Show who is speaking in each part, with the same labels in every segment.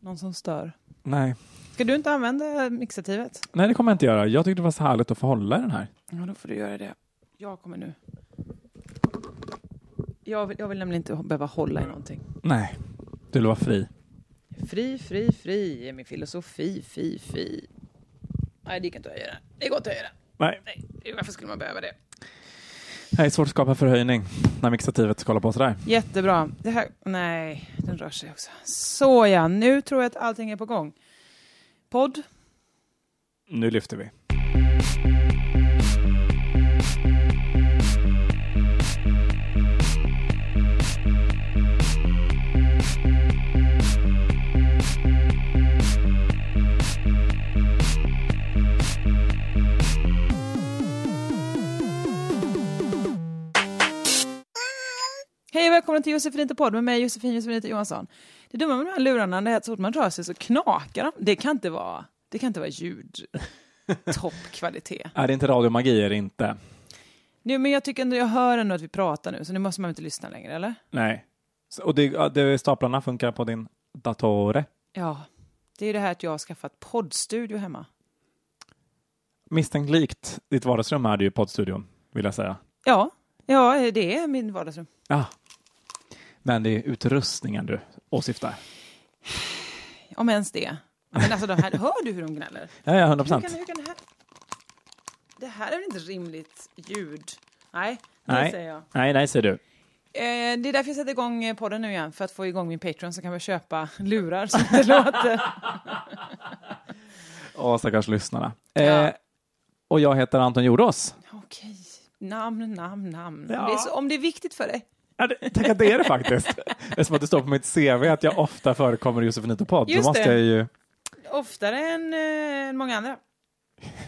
Speaker 1: Någon som stör.
Speaker 2: Nej.
Speaker 1: Ska du inte använda mixativet?
Speaker 2: Nej, det kommer jag inte göra. Jag tyckte det var så härligt att få hålla i den här.
Speaker 1: Ja, då får du göra det. Jag kommer nu. Jag vill, jag vill nämligen inte behöva hålla i någonting.
Speaker 2: Nej, du vill vara fri.
Speaker 1: Fri, fri, fri är min filosofi, fi, fi. Nej, det gick inte att göra. Det går inte att göra.
Speaker 2: Nej.
Speaker 1: Nej, varför skulle man behöva det?
Speaker 2: Nej, svårt att skapa förhöjning när mixativet ska hålla på sådär.
Speaker 1: Jättebra. Det här, nej, den rör sig också. Såja, nu tror jag att allting är på gång. Podd.
Speaker 2: Nu lyfter vi.
Speaker 1: Hej och välkomna till Josefin inte podd med mig Josefin Josefinita Johansson. Det dumma med de här lurarna det är att så fort man rör sig så knakar de. Det kan inte vara, det kan inte vara ljud. Toppkvalitet.
Speaker 2: Är det inte radiomagi är det inte.
Speaker 1: Nu, men jag tycker ändå, jag hör ändå att vi pratar nu, så nu måste man inte lyssna längre, eller?
Speaker 2: Nej. Så- Och det, ja, det, staplarna funkar på din datore.
Speaker 1: Ja. Det är ju det här att jag har skaffat poddstudio hemma.
Speaker 2: Misstänkt likt ditt vardagsrum är det ju poddstudion, vill jag säga.
Speaker 1: Ja, ja det är min vardagsrum.
Speaker 2: Ja. Men det är utrustningen du åsyftar.
Speaker 1: Om ens det. Ja, Men alltså, de här, hör du hur de gnäller?
Speaker 2: Ja, ja, 100
Speaker 1: Hur
Speaker 2: procent.
Speaker 1: kan, hur kan det här... Det här är väl inte rimligt ljud? Nej, det
Speaker 2: Nej.
Speaker 1: säger jag.
Speaker 2: Nej, nej, säger du.
Speaker 1: Eh, det är därför jag sätter igång eh, podden nu igen, för att få igång min Patreon så kan jag köpa lurar så att det låter.
Speaker 2: Åh, stackars lyssnarna.
Speaker 1: Ja.
Speaker 2: Eh, och jag heter Anton Jordås.
Speaker 1: Okej, namn, namn, namn.
Speaker 2: Ja.
Speaker 1: Det är så, om det är viktigt för dig.
Speaker 2: Ja, det- Tänk att det är det faktiskt. Det är som att det står på mitt CV att jag ofta förekommer i Josefinito podd. Då
Speaker 1: Just
Speaker 2: måste
Speaker 1: det.
Speaker 2: jag ju...
Speaker 1: Oftare än, eh, än många andra.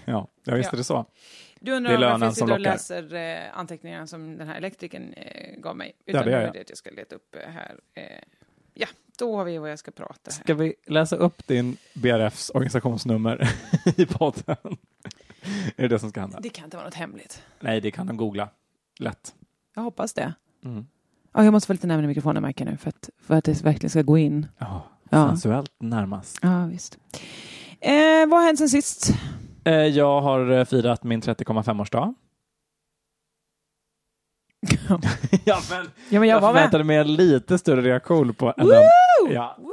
Speaker 2: Ja, jag visste
Speaker 1: Ja.
Speaker 2: det så.
Speaker 1: Du
Speaker 2: Det
Speaker 1: undrar
Speaker 2: är
Speaker 1: varför
Speaker 2: lönen
Speaker 1: jag
Speaker 2: som
Speaker 1: sitter och
Speaker 2: lockar.
Speaker 1: läser eh, anteckningarna som den här elektrikern eh, gav mig.
Speaker 2: det
Speaker 1: Utan
Speaker 2: gör
Speaker 1: nu är
Speaker 2: jag.
Speaker 1: det att jag ska leta upp eh, här. Eh, ja, då har vi vad jag ska prata här.
Speaker 2: Ska vi läsa upp din BRFs organisationsnummer i podden? Är det det som ska hända?
Speaker 1: Det kan inte vara något hemligt.
Speaker 2: Nej, det kan de googla. Lätt.
Speaker 1: Jag hoppas det.
Speaker 2: Mm.
Speaker 1: Ja, jag måste vara lite närmare mikrofonen märker jag nu för att, för att det verkligen ska gå in.
Speaker 2: Ja,
Speaker 1: Ja.
Speaker 2: Sensuellt närmast.
Speaker 1: Ja, visst. Eh, vad har hänt sen sist?
Speaker 2: Eh, Jag har eh, firat min 30,5-årsdag. ja, men
Speaker 1: Ja, men jag var med.
Speaker 2: förväntade mig en lite större reaktion på än den.
Speaker 1: Woo!
Speaker 2: Ja.
Speaker 1: Woo!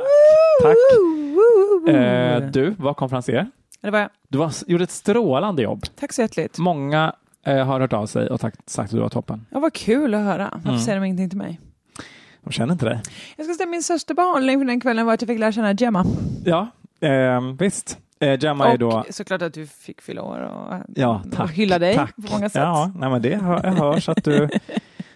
Speaker 2: Tack.
Speaker 1: Woo! Woo!
Speaker 2: Eh, Du var konferencier.
Speaker 1: Det var jag.
Speaker 2: Du var, gjorde ett strålande jobb.
Speaker 1: Tack så hjärtligt.
Speaker 2: Många eh, har hört av sig och tack, sagt att du var toppen.
Speaker 1: Ja, vad kul att höra. Varför
Speaker 2: Mm.
Speaker 1: säger de ingenting till mig?
Speaker 2: De känner inte dig.
Speaker 1: Jag ska ställa min största behållning för den kvällen var att jag fick lära känna Gemma.
Speaker 2: Ja, ehm, visst. Eh, Gemma är
Speaker 1: och
Speaker 2: då...
Speaker 1: såklart att du fick fylla år och,
Speaker 2: Ja,
Speaker 1: och
Speaker 2: tack.
Speaker 1: hylla dig
Speaker 2: tack.
Speaker 1: på många sätt.
Speaker 2: Ja, nej, men det hör, jag hörs att du,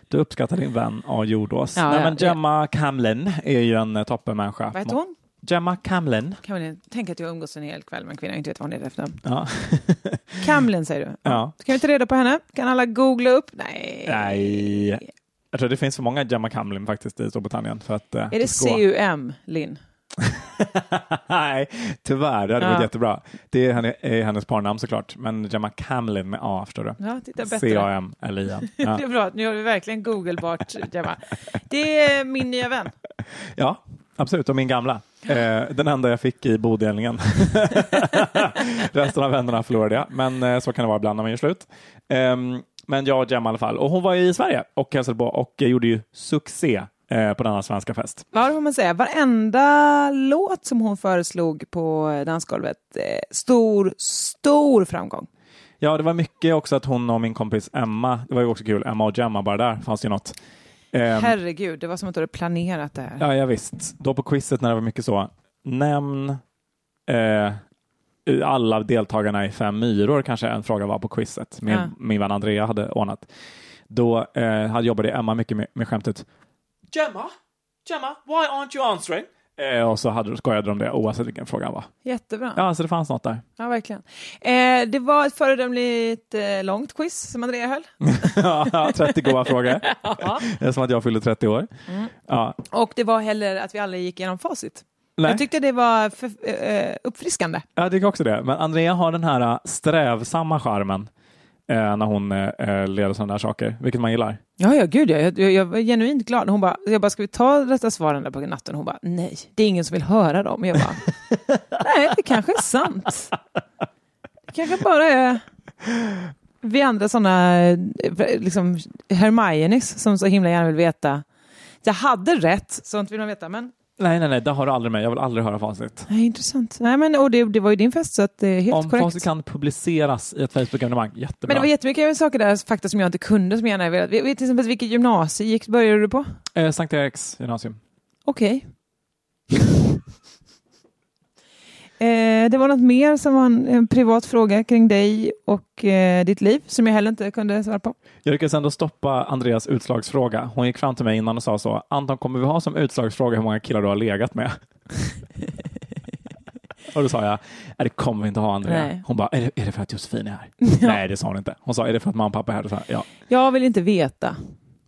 Speaker 2: du uppskattar din vän A. Jordås.
Speaker 1: Ja,
Speaker 2: nej,
Speaker 1: ja,
Speaker 2: men
Speaker 1: ja.
Speaker 2: Gemma Camlen är ju en eh, toppenmänniska.
Speaker 1: Vad heter hon?
Speaker 2: Gemma Camlen.
Speaker 1: Kamlen. Tänk att jag umgås en hel kväll med en kvinna jag inte vet vad hon heter efter namn.
Speaker 2: Ja.
Speaker 1: Kamlen säger du?
Speaker 2: ja.
Speaker 1: Kan vi inte reda på henne? Kan alla googla upp? Nej.
Speaker 2: Nej. Jag tror det finns för många Gemma Camlen faktiskt i Storbritannien. För att, eh,
Speaker 1: Är det
Speaker 2: ska-
Speaker 1: CUM, Linn?
Speaker 2: Nej, tyvärr. Det hade varit
Speaker 1: Ja.
Speaker 2: jättebra. Det är, henne, är hennes parnamn såklart. Men Gemma Camlen med A, förstår du.
Speaker 1: Ja, titta bättre.
Speaker 2: C-A-M-L-I-N.
Speaker 1: Det
Speaker 2: Ja.
Speaker 1: är bra, nu har vi verkligen googlebart Gemma. Det är min nya vän.
Speaker 2: ja, absolut. Och min gamla. Eh, den enda jag fick i bodelningen. Resten av vännerna förlorade jag. Men eh, så kan det vara ibland när man gör slut. Ehm, Men jag och Gemma i alla fall. Och hon var i Sverige och hälsade på och eh, gjorde ju succé eh, på denna svenska fest.
Speaker 1: Ja, det får man säga. Varenda låt som hon föreslog på dansgolvet, eh, stor, stor framgång.
Speaker 2: Ja, det var mycket också att hon och min kompis Emma, det var ju också kul, Emma och Gemma bara där fanns ju något. Ehm,
Speaker 1: Herregud, det var som att du hade planerat det här.
Speaker 2: Ja, ja visst. Då på quizet när det var mycket så, nämn eh, alla deltagarna i Fem myror kanske en fråga var på quizet. Min,
Speaker 1: Ja.
Speaker 2: min vän Andrea hade ordnat. Då eh, hade- jobbade Emma mycket med, med skämtet Gemma, Gemma, why aren't you answering? Eh, och så hade, skojade de det oavsett vilken frågan var.
Speaker 1: Jättebra.
Speaker 2: Ja, så det fanns något där.
Speaker 1: Ja, verkligen. Eh, det var ett föredömligt eh, långt quiz som Andrea höll.
Speaker 2: Ja, 30 goa frågor. Det är som att jag fyllde 30 år. Ja,
Speaker 1: Och det var heller att vi aldrig gick igenom facit.
Speaker 2: nej.
Speaker 1: Jag tyckte det var för, eh, uppfriskande.
Speaker 2: Jag tycker också det. Men Andrea har den här äh, strävsamma charmen eh, när hon eh, eh, leder sådana där saker, vilket man gillar.
Speaker 1: Ja, ja, gud ja. Jag, jag, jag var genuint glad. Hon bara, jag bara, ska vi ta detta svaren där på natten? Hon bara, nej, det är ingen som vill höra dem. Jag bara, nej, det kanske är sant. Det kanske bara är vi andra sådana, eh, liksom Hermionis som så himla gärna vill veta. Jag hade rätt, sånt vill man veta, men
Speaker 2: Nej, nej, nej, det har du aldrig med. Jag vill aldrig höra facit.
Speaker 1: nej, intressant. Nej, men, och det, det var ju din fest, så att det är helt
Speaker 2: Om
Speaker 1: korrekt.
Speaker 2: facit kan publiceras i ett Facebook-evenemang, jättebra.
Speaker 1: Men det var jättemycket saker där, fakta som jag inte kunde, som jag gärna hade velat. Vi- vi- Till exempel, vilket gymnasium gick, började du på?
Speaker 2: eh, Sankt Eriks gymnasium.
Speaker 1: Okej. eh, det var något mer som var en, en privat fråga kring dig och eh, ditt liv som jag heller inte kunde svara på.
Speaker 2: Jag lyckades ändå stoppa Andreas utslagsfråga. Hon gick fram till mig innan och sa så. Anton, kommer vi ha som utslagsfråga hur många killar du har legat med? och då sa jag, "Nej, det kommer vi inte ha Andrea.
Speaker 1: Nej.
Speaker 2: Hon bara, är det, är det för att Josefin är här? Nej, det sa hon inte. Hon sa, är det för att mamma och pappa är här? Då sa jag, ja,
Speaker 1: Jag vill inte veta.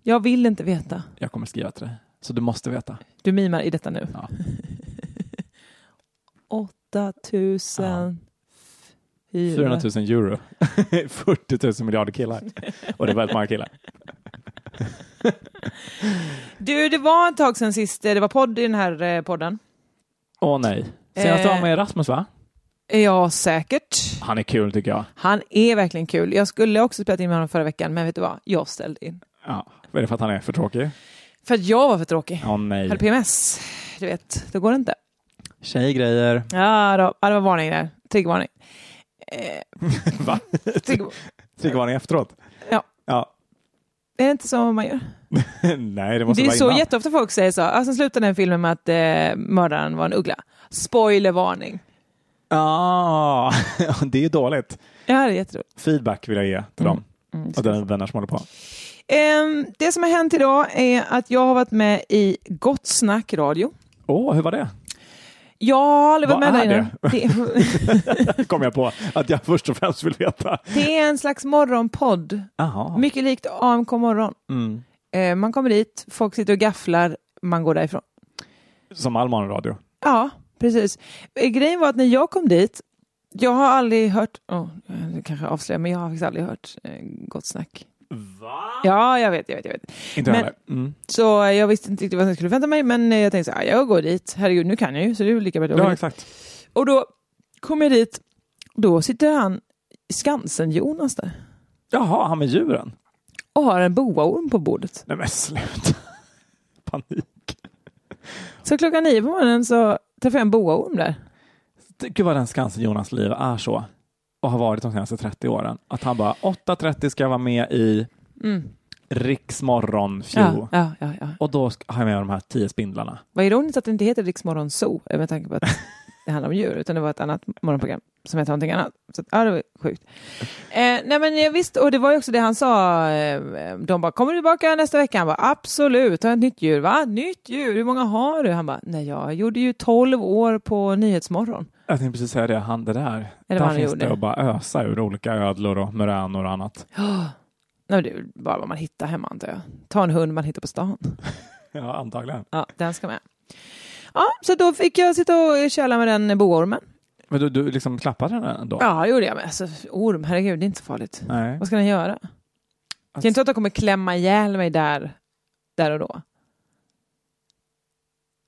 Speaker 1: Jag vill inte veta.
Speaker 2: jag kommer skriva till dig. Så du måste veta.
Speaker 1: Du mimar i detta nu.
Speaker 2: Ja.
Speaker 1: 8000
Speaker 2: 400 000 euro. 40 000 miljarder killar. Och det är väldigt många killar.
Speaker 1: Du, det var ett tag sedan sist eh, det var podd i den här eh, podden.
Speaker 2: Åh nej. Senast
Speaker 1: Eh.
Speaker 2: var med Rasmus va?
Speaker 1: Ja, säkert.
Speaker 2: Han är kul tycker jag.
Speaker 1: Han är verkligen kul. Jag skulle också spela in med honom förra veckan, men vet du vad? Jag ställde in.
Speaker 2: Ja. Är det för att han är för tråkig?
Speaker 1: För att jag var för tråkig.
Speaker 2: Åh nej.
Speaker 1: Hade PMS, du vet, då går det inte.
Speaker 2: Tjejgrejer.
Speaker 1: Ja, då, ja det var varning där. Triggervarning. Eh,
Speaker 2: Va?
Speaker 1: trigger,
Speaker 2: Tryckvarning efteråt?
Speaker 1: Ja.
Speaker 2: ja.
Speaker 1: är det inte så man gör?
Speaker 2: nej, det måste
Speaker 1: det är
Speaker 2: vara
Speaker 1: så
Speaker 2: innan.
Speaker 1: jätteofta folk säger så. Ja, sen slutar den filmen med att eh, mördaren var en uggla. Spoilervarning.
Speaker 2: Ah, det är ju dåligt.
Speaker 1: Ja, det är jätteroligt.
Speaker 2: Feedback vill jag ge till dem.
Speaker 1: Mm,
Speaker 2: Och den vänner som håller på.
Speaker 1: Ehm, det som har hänt idag är att jag har varit med i Gott Snack Radio.
Speaker 2: Åh, hur var det?
Speaker 1: Jag har aldrig varit
Speaker 2: Vad
Speaker 1: med där
Speaker 2: är
Speaker 1: innan. Det,
Speaker 2: Det kom jag på att jag först och främst vill veta.
Speaker 1: det är en slags morgonpodd.
Speaker 2: Jaha.
Speaker 1: Mycket likt AMK morgon.
Speaker 2: Mm.
Speaker 1: Eh, man kommer dit, folk sitter och gafflar, man går därifrån.
Speaker 2: Som all morgonradio.
Speaker 1: Ja, precis. Eh, Grejen var att när jag kom dit, jag har aldrig hört, oh, det kanske jag avslöjar, men jag har faktiskt aldrig hört eh, Gott Snack.
Speaker 2: Va?
Speaker 1: Ja, jag vet, jag vet, jag vet.
Speaker 2: Inte jag
Speaker 1: Men-
Speaker 2: heller. Mm.
Speaker 1: Så eh, jag visste inte riktigt vad som skulle vänta mig, men eh, jag tänkte så här, jag går dit, herregud, nu kan jag ju, så det är ju lika bra att jag går
Speaker 2: Ja,
Speaker 1: dit.
Speaker 2: exakt.
Speaker 1: Och då kom jag dit, då sitter han, Skansen-Jonas där,
Speaker 2: Jaha, han med djuren?
Speaker 1: och har en boaorm på bordet.
Speaker 2: Nej men sluta. Panik.
Speaker 1: Så klockan nio på morgonen så träffade jag en boaorm där.
Speaker 2: Gud vad den Skansen Jonas liv är så. Och har varit de senaste 30 åren. Att han bara 8.30 ska jag vara med i
Speaker 1: Mm.
Speaker 2: Riksmorgon
Speaker 1: Ja,
Speaker 2: ja.
Speaker 1: ja, ja, ja.
Speaker 2: Och då ska- har jag med de här tio spindlarna.
Speaker 1: Vad ironiskt att det inte heter Riksmorgon Zoo eh, med tanke på att det handlar om djur, utan det var ett annat morgonprogram som hette någonting annat. Så att, ja, det var sjukt. Eh, nej men eh, visst, och det var ju också det han sa. Eh, de bara, kommer du tillbaka nästa vecka? Han bara, absolut, har jag ett nytt djur? Va? Nytt djur? Hur många har du? Han bara, nej jag gjorde ju 12 år på Nyhetsmorgon.
Speaker 2: Jag tänkte precis säga det, han det där.
Speaker 1: Eller vad
Speaker 2: där
Speaker 1: han
Speaker 2: finns
Speaker 1: gjorde.
Speaker 2: det att bara ösa ur olika ödlor och muränor och annat.
Speaker 1: Nej, men det är väl bara vad man hittar hemma antar jag. Ta en hund man hittar på stan.
Speaker 2: Ja, antagligen.
Speaker 1: Ja, den ska med. Ja, så då fick jag sitta och köla med den boormen.
Speaker 2: Men du, du liksom klappade den ändå?
Speaker 1: Ja, det gjorde jag med. Alltså, orm, herregud, det är inte så farligt.
Speaker 2: Nej.
Speaker 1: Vad ska den göra? Det är
Speaker 2: Alltså-
Speaker 1: inte så att de kommer klämma ihjäl mig där, där och då.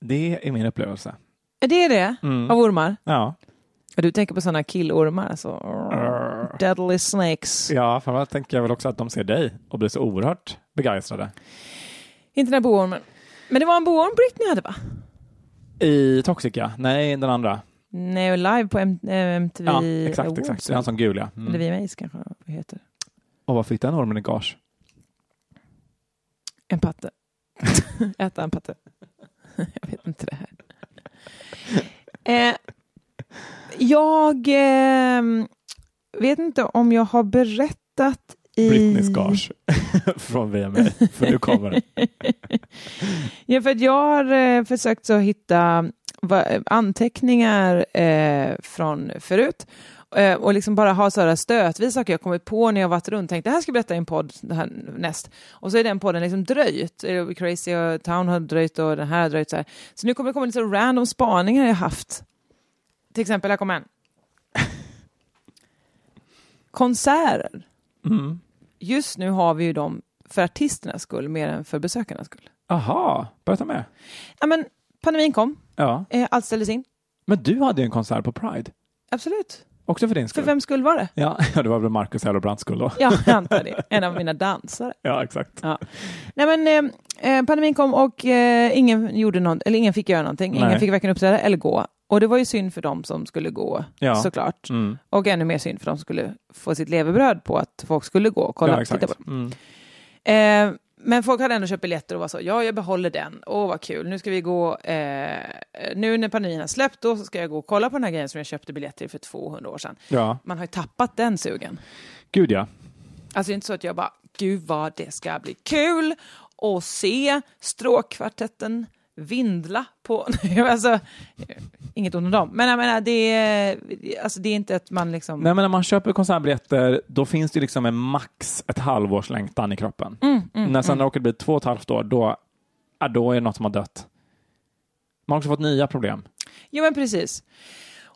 Speaker 2: Det är min upplevelse.
Speaker 1: Är det det?
Speaker 2: Mm.
Speaker 1: Av ormar?
Speaker 2: Ja.
Speaker 1: Ja, Du tänker på sådana killormar? Alltså.
Speaker 2: Arr.
Speaker 1: deadly snakes.
Speaker 2: Ja, framförallt tänker jag väl också att de ser dig och blir så oerhört begeistrade.
Speaker 1: Inte den här boormen. Men det var en boorm Britney hade va?
Speaker 2: I Toxica? Nej, den andra.
Speaker 1: Nej, och live på M- eh, MTV
Speaker 2: Ja, exakt,
Speaker 1: Awards,
Speaker 2: exakt. Det är
Speaker 1: va?
Speaker 2: han som gul, ja.
Speaker 1: Eller
Speaker 2: Mm.
Speaker 1: VMAs kanske det heter.
Speaker 2: Och vad fick den ormen i gage?
Speaker 1: En patte. Äta en patte. jag vet inte det här. Eh, jag eh, vet inte om jag har berättat i...
Speaker 2: Britneys gage från VMA, för nu kommer det.
Speaker 1: Ja, för att jag har eh, försökt så hitta va- anteckningar eh, från förut eh, och liksom bara ha sådana stötvis saker jag kommit på när jag varit runt tänkt det här ska jag berätta i en podd det här näst och så är den podden liksom dröjt Eh, Crazy och Town har dröjt och den här har dröjt så här så nu kommer det komma lite så random spaningar jag haft till exempel här kommer en konserter
Speaker 2: Mm.
Speaker 1: just nu har vi ju dem för artisternas skull mer än för besökarnas skull
Speaker 2: Aha, berätta med.
Speaker 1: ja men pandemin kom
Speaker 2: Ja.
Speaker 1: Eh, Allt ställdes in.
Speaker 2: Men du hade ju en konsert på Pride,
Speaker 1: Absolut.
Speaker 2: också för din
Speaker 1: För
Speaker 2: skull.
Speaker 1: vem skulle vara det?
Speaker 2: Ja, ja, det var väl Marcus Hellebrands skull då.
Speaker 1: Ja, jag antar det. En av mina dansare.
Speaker 2: Ja, exakt.
Speaker 1: Nej, men eh, eh, pandemin kom och eh, ingen, gjorde någon, eller ingen fick göra någonting.
Speaker 2: Nej.
Speaker 1: Ingen fick varken uppträda eller gå. Och det var ju synd för dem som skulle gå,
Speaker 2: Ja.
Speaker 1: såklart.
Speaker 2: Mm.
Speaker 1: Och ännu mer synd för dem som skulle få sitt levebröd på att folk skulle gå och kolla.
Speaker 2: ja,
Speaker 1: titta på
Speaker 2: exakt.
Speaker 1: dem.
Speaker 2: Mm.
Speaker 1: Eh, men folk hade ändå köpt biljetter och var så, ja, jag behåller den. Åh, vad kul. Nu ska vi gå, eh, nu när pandemin har släppt, då så ska jag gå och kolla på den här grejen som jag köpte biljetter till för 200 år sedan.
Speaker 2: Ja,
Speaker 1: Man har ju tappat den sugen.
Speaker 2: gud ja.
Speaker 1: Alltså det är inte så att jag bara, gud vad det ska bli kul att se stråkkvartetten vindla på... alltså, eh, inget ont om dem, men jag menar, det är, alltså, det är inte att man liksom...
Speaker 2: Nej, men när man köper konsertbiljetter då finns det ju liksom en max ett halvårs längtan i kroppen. när sen när det åker bli två och ett halvt år, då, ja, då är det något som har dött. Man har också fått nya problem.
Speaker 1: Jo, men precis.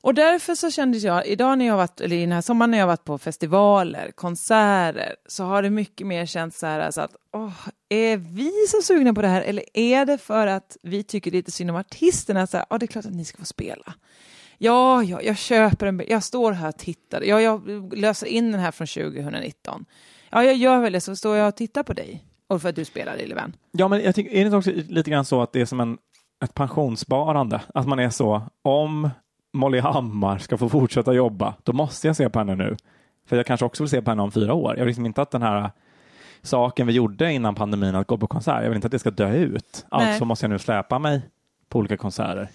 Speaker 1: Och därför så kände jag, idag när jag varit, eller i den här sommaren när jag varit på festivaler, konserter, så har det mycket mer känts så här alltså att, åh, är vi så sugna på det här eller är det för att vi tycker lite synd om artisterna? Så här, ja, det är klart att ni ska få spela. Ja, ja, jag köper en bil- jag står här och tittar, ja, jag löser in den här från 2019. Ja, jag gör väl det, så står jag och tittar på dig. Och för att du spelar, lille vän.
Speaker 2: Ja, men jag tycker, är det inte också lite grann så att det är som en, ett pensionssparande? Att man är så, om Molly Hammar ska få fortsätta jobba, då måste jag se på henne nu. För jag kanske också vill se på henne om fyra år. Jag vill liksom inte att den här saken vi gjorde innan pandemin, att gå på konsert, jag vill inte att det ska dö ut.
Speaker 1: Nej.
Speaker 2: Alltså måste jag nu släpa mig på olika konserter.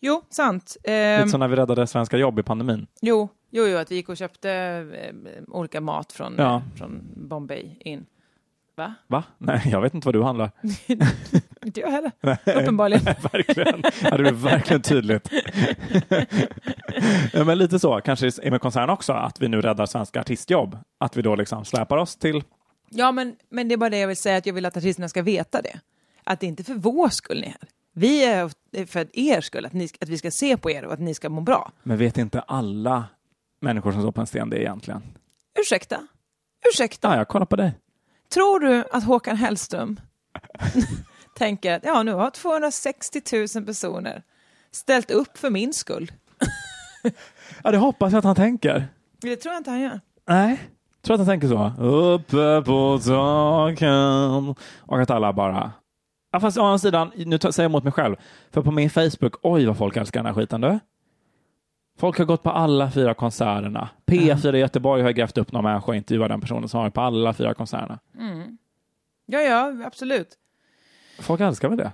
Speaker 1: Jo, sant. Ehm,
Speaker 2: Lite som när vi räddade svenska jobb i pandemin.
Speaker 1: Jo, jo, jo, att vi gick och köpte eh, olika mat från,
Speaker 2: Ja.
Speaker 1: eh, från Bombay in. Va?
Speaker 2: Va? Nej, jag vet inte vad du handlar.
Speaker 1: Inte jag heller, uppenbarligen.
Speaker 2: verkligen. Ja, det är verkligen tydligt. Ja, Men lite så kanske det är med koncernen också, att vi nu räddar svenska artistjobb. Att vi då liksom släpar oss till...
Speaker 1: Ja, men, men det är bara det jag vill säga, att jag vill att artisterna ska veta det. Att det är inte för vår skull ni är här. Vi är här för er skull, att, ni, att vi ska se på er och att ni ska må bra.
Speaker 2: Men vet inte alla människor som står på en sten det egentligen?
Speaker 1: Ursäkta? Ursäkta?
Speaker 2: Ja, jag kollar på dig.
Speaker 1: Tror du att Håkan Hellström tänker att ja, nu har 260 000 personer ställt upp för min skull?
Speaker 2: Ja, det hoppas jag att han tänker.
Speaker 1: Det tror jag inte han gör.
Speaker 2: Nej. Tror att han tänker så? Uppe på taken. Och att alla bara... Ja, fast å andra sidan, nu tar- säger jag emot mig själv. För på min Facebook, oj vad folk älskar den här skiten du. Folk har gått på alla fyra konserterna. P4 i Göteborg har grävt upp någon människa och intervjuat den personen som har varit på alla fyra konserterna.
Speaker 1: Ja, ja, absolut.
Speaker 2: Folk älskar väl det?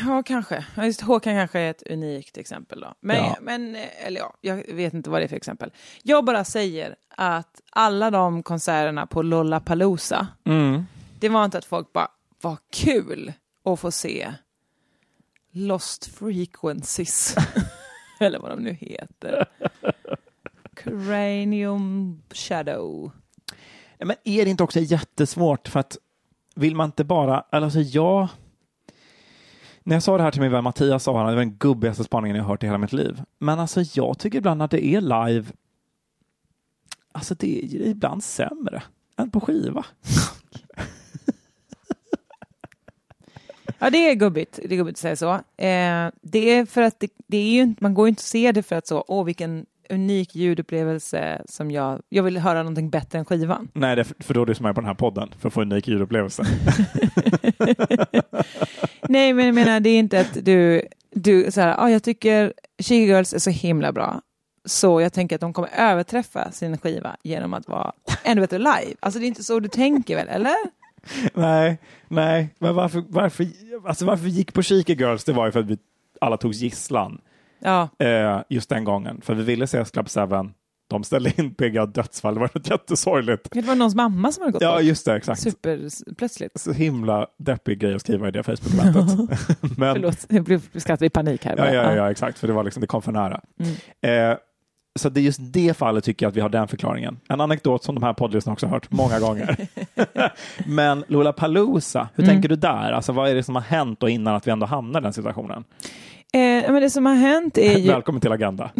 Speaker 1: Ja, kanske. Ja, Just Håkan kanske är ett unikt exempel. Då. Men,
Speaker 2: Ja.
Speaker 1: men, eh, eller ja, jag vet inte vad det är för exempel. Jag bara säger att alla de konserterna på Lollapalooza, det var inte att folk bara, vad kul att få se Lost Frequencies, eller vad de nu heter. Cranium Shadow.
Speaker 2: Ja, Men är det inte också jättesvårt för att vill man inte bara, eller alltså jag när jag sa det här till min vän Mattias sa han att det var den gubbigaste spaningen jag hört i hela mitt liv. Men alltså jag tycker ibland att det är live, alltså det är ibland sämre än på skiva.
Speaker 1: Ja, det är gubbigt, det är gubbigt att säga så. Eh, det är för att det, det är ju, inte- man går ju inte att se det för att så, åh vilken unik ljudupplevelse som jag... Jag vill höra någonting bättre än skivan.
Speaker 2: Nej, det är för för då lyssnar man på den här podden för att få en unik ljudupplevelse.
Speaker 1: Nej, men jag menar det är inte att du... du så här, ah, jag tycker Chica Girls är så himla bra. Så jag tänker att de kommer överträffa sin skiva genom att vara ännu bättre live. Alltså det är inte så du tänker väl, eller?
Speaker 2: nej, nej, men varför, varför, alltså varför vi gick på Chica Girls? Det var ju för att vi alla togs gisslan
Speaker 1: Ja,
Speaker 2: eh, just den gången. För vi ville se Club 7. De ställde in PGA Dödsfall. Det var något jättesorgligt.
Speaker 1: det var någons mamma som hade gått
Speaker 2: Ja,
Speaker 1: bort.
Speaker 2: just det. Exakt.
Speaker 1: Superplötsligt.
Speaker 2: Så himla deppig grej att skriva i det Facebook-mötet. men,
Speaker 1: Förlåt, jag blev skrattade i panik här.
Speaker 2: Ja,
Speaker 1: bara.
Speaker 2: ja, ja, exakt, för det var liksom, det kom för nära.
Speaker 1: Mm.
Speaker 2: Eh, så det är just det fallet tycker jag att vi har den förklaringen. En anekdot som de här poddlyssnarna också har hört många gånger. Men Lollapalooza, hur
Speaker 1: Mm.
Speaker 2: tänker du där? Alltså vad är det som har hänt då innan att vi ändå hamnar i den situationen?
Speaker 1: Eh, men det som har hänt är ju...
Speaker 2: Välkommen till Agenda.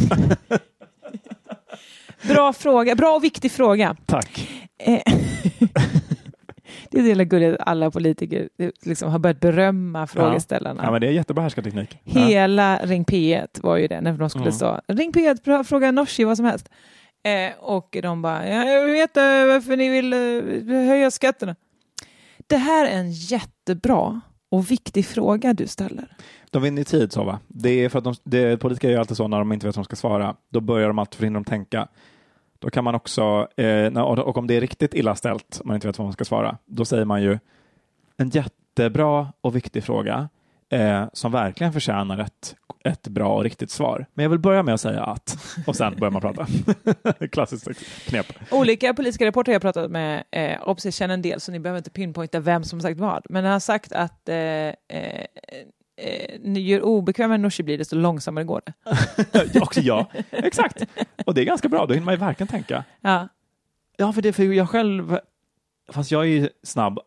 Speaker 1: Bra fråga, bra och viktig fråga.
Speaker 2: Tack.
Speaker 1: Eh, det är så jävla gulligt att alla politiker eh, liksom har börjat berömma frågeställarna.
Speaker 2: Ja, men det är jättebra härskarteknik. Ja.
Speaker 1: Hela Ring P1 var ju det, när de skulle
Speaker 2: Mm.
Speaker 1: stå Ring P1, pra- fråga Nooshi vad som helst. Eh, och de bara, "Ja, jag vill veta varför ni vill eh, höja skatterna. Det här är en jättebra och viktig fråga du ställer.
Speaker 2: De vinner i tid så va? Det är för att de, det, politiker gör alltid så när de inte vet vad de ska svara. Då börjar de alltid förhindra dem tänka. Då kan man också, eh, när, och och om det är riktigt illa ställt, om man inte vet vad man ska svara, då säger man ju en jättebra och viktig fråga eh, som verkligen förtjänar ett, ett bra och riktigt svar. Men jag vill börja med att säga att, och sen börjar man prata. Klassiskt knep.
Speaker 1: Olika politiska reportrar jag pratat med, eh, obs jag känner en del så ni behöver inte pinpointa vem som har sagt vad, men han har sagt att eh, eh, eh, ni gör obekvämare Nooshi blir desto långsammare går det.
Speaker 2: också ja, exakt. Och det är ganska bra, då hinner man ju verkligen tänka.
Speaker 1: Ja.
Speaker 2: Ja, för det för jag själv, fast jag är ju snabb,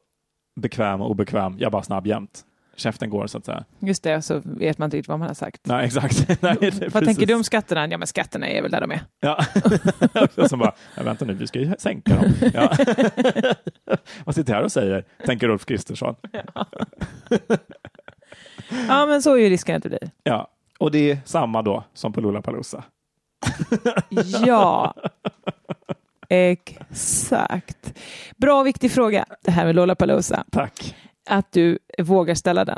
Speaker 2: bekväm och obekväm. Jag är bara snabb jämt. Käften går så att säga.
Speaker 1: Just det, så vet man inte riktigt vad man har sagt.
Speaker 2: Nej, exakt. Nej, det är
Speaker 1: Vad
Speaker 2: precis.
Speaker 1: tänker du om skatterna? Ja, men skatterna är väl där de är.
Speaker 2: Ja. Och Som bara, ja, vänta nu, vi ska ju sänka dem. Ja. Vad sitter jag här och säger, tänker Ulf Kristersson.
Speaker 1: Ja, men så är ju risken att det blir.
Speaker 2: Ja, och det är samma då som på Lollapalooza.
Speaker 1: Ja, exakt. Bra och viktig fråga, det här med Lollapalooza,
Speaker 2: Tack.
Speaker 1: att du vågar ställa den.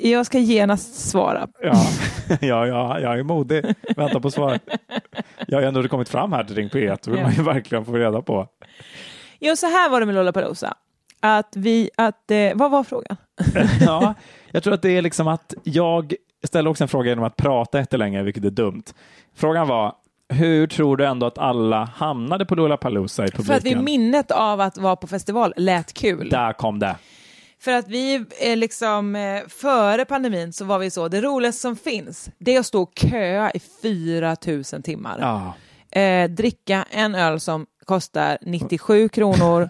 Speaker 1: Jag ska genast svara.
Speaker 2: Ja, ja, ja jag är modig. Väntar på svar. Jag har ju ändå kommit fram här till Ring P1, då vill man ju verkligen få reda på.
Speaker 1: Jo, så här var det med Lollapalooza. Att vi, att, eh, vad var frågan?
Speaker 2: Ja, jag tror att det är liksom att jag ställer också en fråga genom att prata jättelänge, vilket är dumt. Frågan var, hur tror du ändå att alla hamnade på Lollapalooza i publiken?
Speaker 1: För att vi minnet av att vara på festival lät kul.
Speaker 2: Där kom det.
Speaker 1: För att vi eh, liksom eh, före pandemin så var vi så, det roligaste som finns det är att stå och köa i 4000 timmar.
Speaker 2: Ja.
Speaker 1: eh, dricka en öl som kostar 97 kronor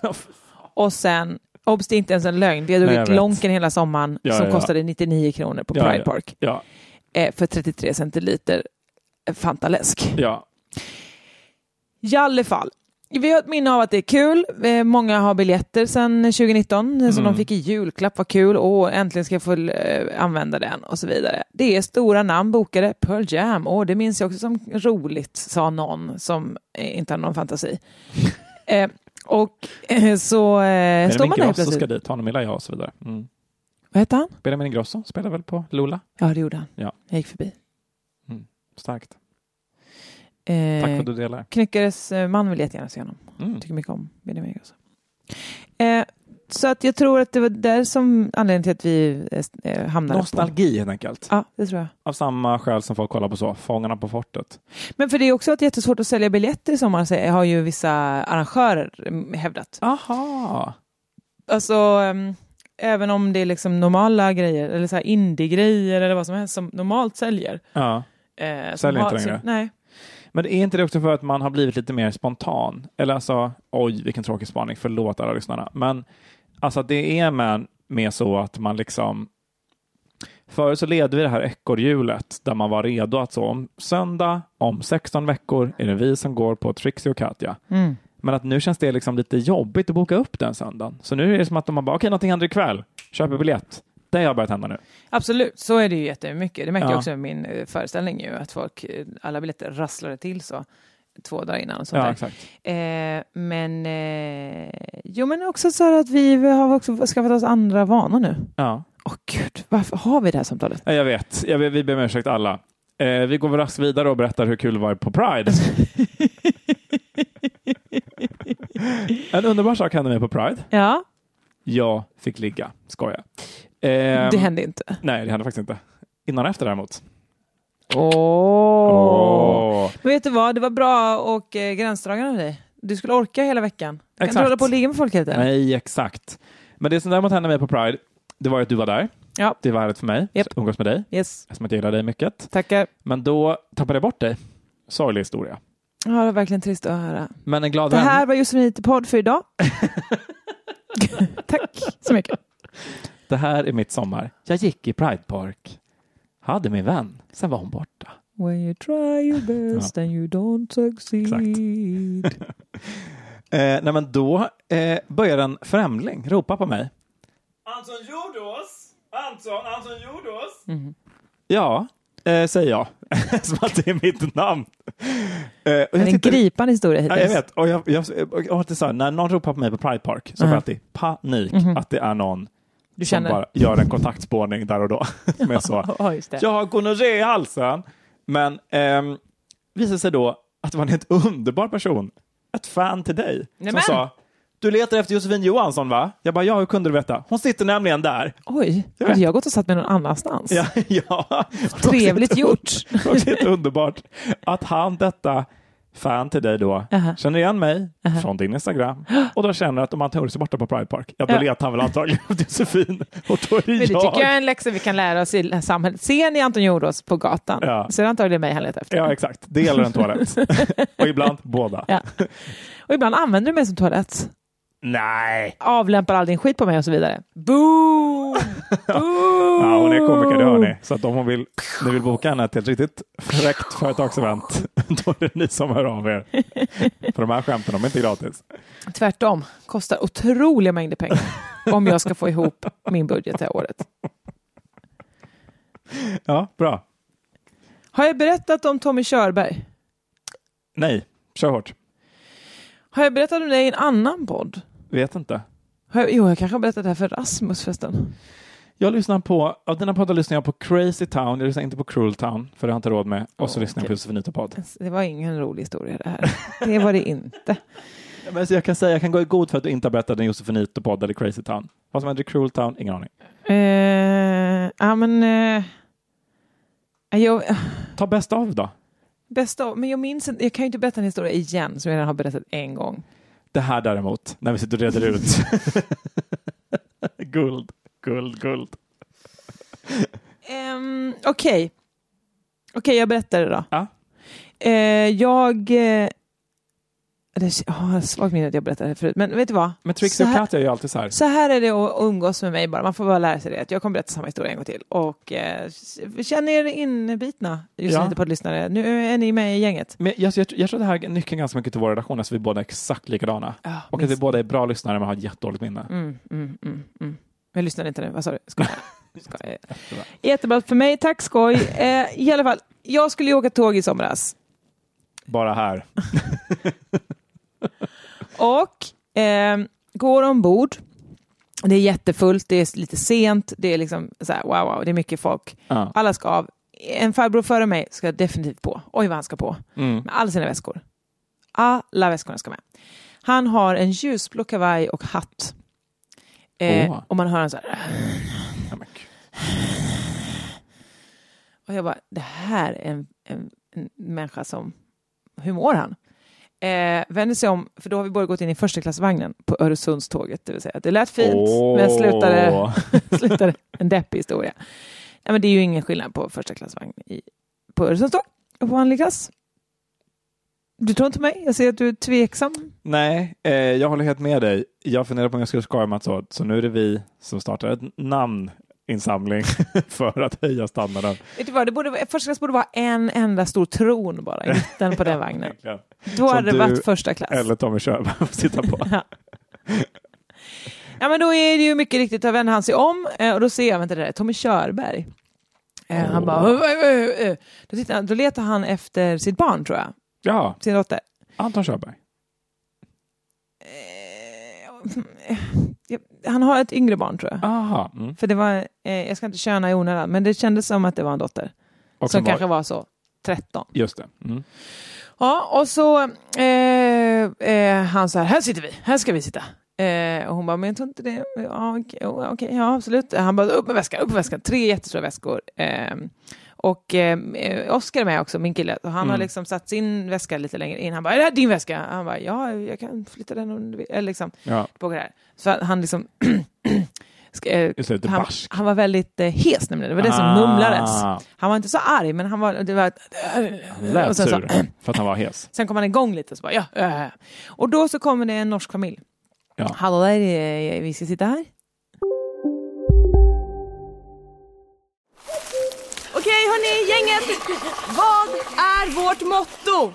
Speaker 1: och sen, obs det är inte ens en lögn, vi har
Speaker 2: Nej, jag
Speaker 1: druckit
Speaker 2: vet.
Speaker 1: Lonken hela sommaren
Speaker 2: Ja,
Speaker 1: som
Speaker 2: ja, ja.
Speaker 1: kostade 99 kronor på
Speaker 2: Ja,
Speaker 1: Pride
Speaker 2: ja.
Speaker 1: Park
Speaker 2: Ja,
Speaker 1: eh, för 33 centiliter eh, Fantaläsk.
Speaker 2: ja.
Speaker 1: I alla fall, vi har ett minne av att det är kul. Eh, många har biljetter sedan 2019 eh, som
Speaker 2: Mm.
Speaker 1: de fick i julklapp, vad kul, och äntligen ska jag få eh, använda den och så vidare. Det är stora namn bokade, Pearl Jam, och det minns jag också som roligt, sa någon som eh, inte hade någon fantasi. eh, och eh, så eh, står man där
Speaker 2: Benjamin
Speaker 1: helt
Speaker 2: Ingrosso ska
Speaker 1: plötsligt.
Speaker 2: dit, honom gillar jag och så vidare. Mm.
Speaker 1: Vad hette han?
Speaker 2: Benjamin Ingrosso spelar väl på Lola?
Speaker 1: Ja, det gjorde han.
Speaker 2: Ja.
Speaker 1: Jag gick förbi.
Speaker 2: Starkt.
Speaker 1: Eh,
Speaker 2: Tack för att du delar.
Speaker 1: Knyckares eh, man vill jättegärna se honom.
Speaker 2: Mm.
Speaker 1: tycker mycket om Benjamin Ingrosso. Eh, så att jag tror att det var där som anledningen till att vi eh, hamnade på...
Speaker 2: Nostalgi helt enkelt.
Speaker 1: Ja, det tror jag.
Speaker 2: Av samma skäl som folk kollar på så, Fångarna på fortet.
Speaker 1: Men för det är också att det är jättesvårt att sälja biljetter i sommar, så har ju vissa arrangörer mm, hävdat.
Speaker 2: Aha.
Speaker 1: Alltså, ehm, även om det är liksom normala grejer, eller så här indie-grejer eller vad som helst som normalt säljer.
Speaker 2: Ja.
Speaker 1: Eh, som
Speaker 2: Säljer inte
Speaker 1: har-
Speaker 2: längre.
Speaker 1: så- Nej.
Speaker 2: Men är inte det också för att man har blivit lite mer spontan? Eller alltså, oj vilken tråkig spaning, förlåt alla lyssnarna. Men alltså att det är med, med så att man liksom... Förut så ledde vi det här ekorrhjulet där man var redo att så om söndag, om 16 veckor är det vi som går på Trixie och Katja.
Speaker 1: Mm.
Speaker 2: Men att nu känns det liksom lite jobbigt att boka upp den söndagen. Så nu är det som att de har bara, okej någonting händer ikväll, köper biljett. det har börjat hända nu.
Speaker 1: Absolut, så är det ju jättemycket. Det märker
Speaker 2: Ja.
Speaker 1: jag också med min eh, föreställning ju, att folk, eh, alla biljetter rasslade till så två dagar innan. Och sånt
Speaker 2: Ja,
Speaker 1: där.
Speaker 2: exakt.
Speaker 1: Eh, men, eh, jo men också så här att vi har också skaffat oss andra vanor nu.
Speaker 2: Ja.
Speaker 1: Åh gud, varför har vi det här samtalet?
Speaker 2: Ja, Jag vet, jag, vet- vi ber om ursäkt alla. Eh, vi går väl raskt vidare och berättar hur kul det var på Pride. en underbar sak hände mig på Pride.
Speaker 1: Ja,
Speaker 2: Jag fick ligga, skoja. Ehm,
Speaker 1: det hände inte.
Speaker 2: Nej, det hände faktiskt inte. Innan och efter däremot.
Speaker 1: Åh!
Speaker 2: Åh.
Speaker 1: Men vet du vad, det var bra och eh, gränsdragande av dig. Du skulle orka hela veckan. Kan du
Speaker 2: Exakt.
Speaker 1: hålla på och ligga med folk hela tiden?
Speaker 2: Nej, exakt. Men det som däremot hände mig på Pride, det var ju att du var där.
Speaker 1: Ja.
Speaker 2: Det var härligt för mig
Speaker 1: Japp.
Speaker 2: att umgås med dig,
Speaker 1: Yes,
Speaker 2: eftersom att jag gillar dig mycket.
Speaker 1: tackar.
Speaker 2: Men då tappade jag bort dig. Sorglig historia.
Speaker 1: Ja, det var verkligen trist att höra.
Speaker 2: Men en glad
Speaker 1: Det
Speaker 2: vän.
Speaker 1: här var Josefin podd för idag. Tack så mycket.
Speaker 2: Det här är mitt sommar. Jag gick i Pride Park. Hade min vän. Sen var hon borta.
Speaker 1: When you try your best and you don't succeed.
Speaker 2: Eh, nej, men då eh, började en främling ropa på mig. Mm. Anton Jordås! Anton, Anton Jordås! Ja, eh, säger jag. Som att det är mitt namn. Eh, och
Speaker 1: Det är en
Speaker 2: tittar-
Speaker 1: gripande historia hittills.
Speaker 2: Ja, jag vet. Och jag, jag, och jag, alltid så här, när någon ropar på mig på Pride Park så får jag alltid panik
Speaker 1: Mhm.
Speaker 2: att det är någon
Speaker 1: Du
Speaker 2: som
Speaker 1: känner?
Speaker 2: bara gör en kontaktspårning där och då. Som är så,
Speaker 1: Ja, just det.
Speaker 2: jag har gonorré i halsen. Men ehm, visade sig då att det var en helt underbar person, ett fan till dig,
Speaker 1: Nämen!
Speaker 2: som sa du letar efter Josefin Johansson va? Jag bara, ja hur kunde du veta? Hon sitter nämligen där.
Speaker 1: Oj,
Speaker 2: Jag
Speaker 1: jag,
Speaker 2: vet.
Speaker 1: jag har gått och satt mig någon annanstans.
Speaker 2: Ja, ja.
Speaker 1: Trevligt gjort.
Speaker 2: Det var helt underbart att han, detta fan till dig då,
Speaker 1: Aha.
Speaker 2: känner igen mig från din Instagram och då känner att om han tog sig borta på Pride Park, ja då
Speaker 1: Ja.
Speaker 2: letar han väl antagligen efter Josefin och då är det
Speaker 1: Men det
Speaker 2: jag.
Speaker 1: tycker jag är en läxa vi kan lära oss i samhället. Ser ni Anton Jordås på gatan
Speaker 2: Ja.
Speaker 1: så är det antagligen mig han letar efter.
Speaker 2: Ja, exakt. Det gäller en toalett. och ibland båda.
Speaker 1: Ja. Och ibland använder du mig som toalett.
Speaker 2: Nej!
Speaker 1: Avlämpar all din skit på mig och så vidare. Boom! Boom!
Speaker 2: Ja, hon är komiker, det hör ni. Så att om hon vill, ni vill boka henne till ett riktigt fräckt företagsevent, då är det ni som hör av er. För de här skämten, de är inte gratis.
Speaker 1: Tvärtom, kostar otroliga mängder pengar om jag ska få ihop min budget det här året.
Speaker 2: Ja, bra.
Speaker 1: Har jag berättat om Tommy Körberg?
Speaker 2: Nej, kör hårt.
Speaker 1: Har jag berättat om dig i en annan podd?
Speaker 2: Vet inte.
Speaker 1: Har jag, jo, jag kanske har berättat det här för Rasmus förresten.
Speaker 2: Jag lyssnar på, av dina poddar lyssnar jag på Crazy Town, jag lyssnar inte på Cruel Town, för det har jag inte råd med. Och så
Speaker 1: Åh,
Speaker 2: lyssnar jag på
Speaker 1: okej.
Speaker 2: Josefinita podd.
Speaker 1: Det var ingen rolig historia det här. Det var det inte.
Speaker 2: Men så jag kan säga, jag kan gå i god för att du inte har berättat en Josefinita podd eller Crazy Town. Vad som händer i Cruel Town, ingen aning.
Speaker 1: Eh, ja, men... eh, jag,
Speaker 2: Ta bäst av då.
Speaker 1: bästa av, men jag minns inte- Jag kan ju inte berätta en historia igen som jag redan har berättat en gång.
Speaker 2: Det här däremot, när vi sitter och reder ut. guld, guld, guld.
Speaker 1: Ehm, Okej. Okej, jag berättar det då.
Speaker 2: Ja.
Speaker 1: Eh, jag... Eh, det, jag har svagt minne att jag berättade det förut, men vet du vad?
Speaker 2: Men Trixie
Speaker 1: Så
Speaker 2: och
Speaker 1: här-
Speaker 2: Katja är ju alltid så här.
Speaker 1: Så här är det att umgås med mig bara. Man får bara lära sig det. Att jag kommer berätta samma historia en gång till. Och eh, känner er inbitna, just
Speaker 2: Ja.
Speaker 1: ja. poddlyssnare. Nu är ni med i gänget.
Speaker 2: Men jag, jag, jag tror det här är nyckeln ganska mycket till vår relation, alltså vi är båda exakt likadana.
Speaker 1: Ja,
Speaker 2: Och att vi båda är bra lyssnare men har jättedåligt minne.
Speaker 1: Mm, mm, mm, mm. Jag lyssnade inte nu, vad sa du? Skojar. Skojar.
Speaker 2: Jättebra.
Speaker 1: Jättebra för mig, tack skoj. Eh, I alla fall, jag skulle ju åka tåg i somras
Speaker 2: Bara här.
Speaker 1: och eh, går ombord. Det är jättefullt, det är lite sent, det är liksom så här, wow, wow, det är mycket folk.
Speaker 2: Ja.
Speaker 1: Alla ska av. En farbror före mig ska definitivt på. Oj, vad han ska på.
Speaker 2: Mm.
Speaker 1: Med alla sina väskor. Alla väskorna ska med. Han har en ljusblå kavaj och hatt. Eh,
Speaker 2: Åh.
Speaker 1: Och man hör han så här.
Speaker 2: Ja, men gud.
Speaker 1: Och jag bara, det här är en, en, en människa som, hur mår han? Eh, vänder sig om, för då har vi både gått in i första klassvagnen på Öresundståget, det vill säga. Det lät fint, men slutade,
Speaker 2: Åh.
Speaker 1: slutade en deppig historia. Nej, men det är ju ingen skillnad på första klassvagn i, på Öresundståg och på vanlig klass. Du tror inte mig? Jag ser att du är tveksam.
Speaker 2: Nej, eh, jag håller helt med dig. Jag funderar på om jag skulle skoja med att så, så nu är det vi som startar ett namninsamling för att höja standarden.
Speaker 1: Vet du vad, det borde, vara- första klass borde vara en enda stor tron bara i mitten på den vagnen.
Speaker 2: Verkligen.
Speaker 1: Då hade det
Speaker 2: du
Speaker 1: varit första klass.
Speaker 2: Eller Tommy Körberg får sitta på.
Speaker 1: Ja, men då är det ju mycket riktigt, tar vänder han sig om eh, och då ser jag, vänta det där, är Tommy Körberg. Eh, Han bara, "Oj, oj, oj, oj." då, tittar, han- då letar han efter sitt barn tror jag,
Speaker 2: Ja,
Speaker 1: sin dotter.
Speaker 2: Anton Körberg.
Speaker 1: Eh, Ja, Han har ett yngre barn tror jag.
Speaker 2: Aha. Mm.
Speaker 1: För det var, eh, jag ska inte köna i onödan, men det kändes som att det var en dotter.
Speaker 2: Och
Speaker 1: som
Speaker 2: som var-
Speaker 1: kanske var så 13.
Speaker 2: Just det. Mm.
Speaker 1: Ja, och så eh, eh, han så här, här sitter vi, här ska vi sitta. Eh, och hon bara, men jag tror inte det. Ja, okej, ja, okej, ja absolut. Han bara, upp med väskan, upp med väskan. Tre jättestora väskor. Eh, och eh, Oskar är med också, min kille. Och han
Speaker 2: Mm.
Speaker 1: har liksom satt sin väska lite längre in. Han bara, är det här din väska? Han bara, ja, jag kan flytta den om du vill. Eller liksom,
Speaker 2: Ja,
Speaker 1: på det här. Så han liksom... ska- eh,
Speaker 2: just det. Lite
Speaker 1: han,
Speaker 2: barsk.
Speaker 1: han var väldigt eh, hes nämligen, det var det som mumlades.
Speaker 2: Ah,
Speaker 1: Han var inte så arg, men han var... Det var
Speaker 2: han lät
Speaker 1: Eh, och sen, så,
Speaker 2: sur för att han var hes.
Speaker 1: sen kom han igång lite och så bara, ja, ja, ja. Och då så kommer det en norsk familj.
Speaker 2: Ja.
Speaker 1: Hallå där, eh, vi ska sitta här.
Speaker 3: Okej hörni, gänget! Vad är vårt motto?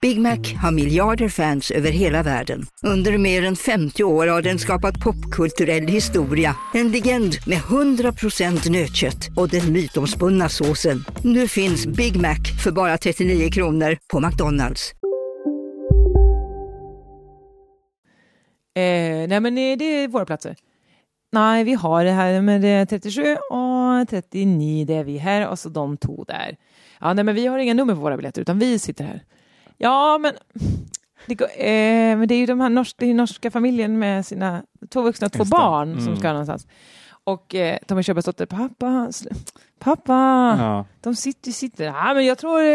Speaker 4: Big Mac har miljarder fans över hela världen. Under mer än 50 år har den skapat popkulturell historia. En legend med 100% nötkött och den mytomspunna såsen. Nu finns Big Mac för bara 39 kronor på McDonalds.
Speaker 1: Eh, nej, men eh, det är våra platser. Nej, vi har det här med eh, 37 och 39, det är vi här och så de två där. Ja, nej, men vi har inga nummer på våra biljetter utan vi sitter här. Ja, men det, går, eh, men det är ju de här norska, det är ju norska familjen med sina två vuxna och två
Speaker 2: Just det.
Speaker 1: barn
Speaker 2: Mm.
Speaker 1: som ska någonstans. Och eh, Tommy Körbergs dotter, pappa, sl- pappa,
Speaker 2: Ja.
Speaker 1: de sitter, sitter. Nej, men jag tror, eh,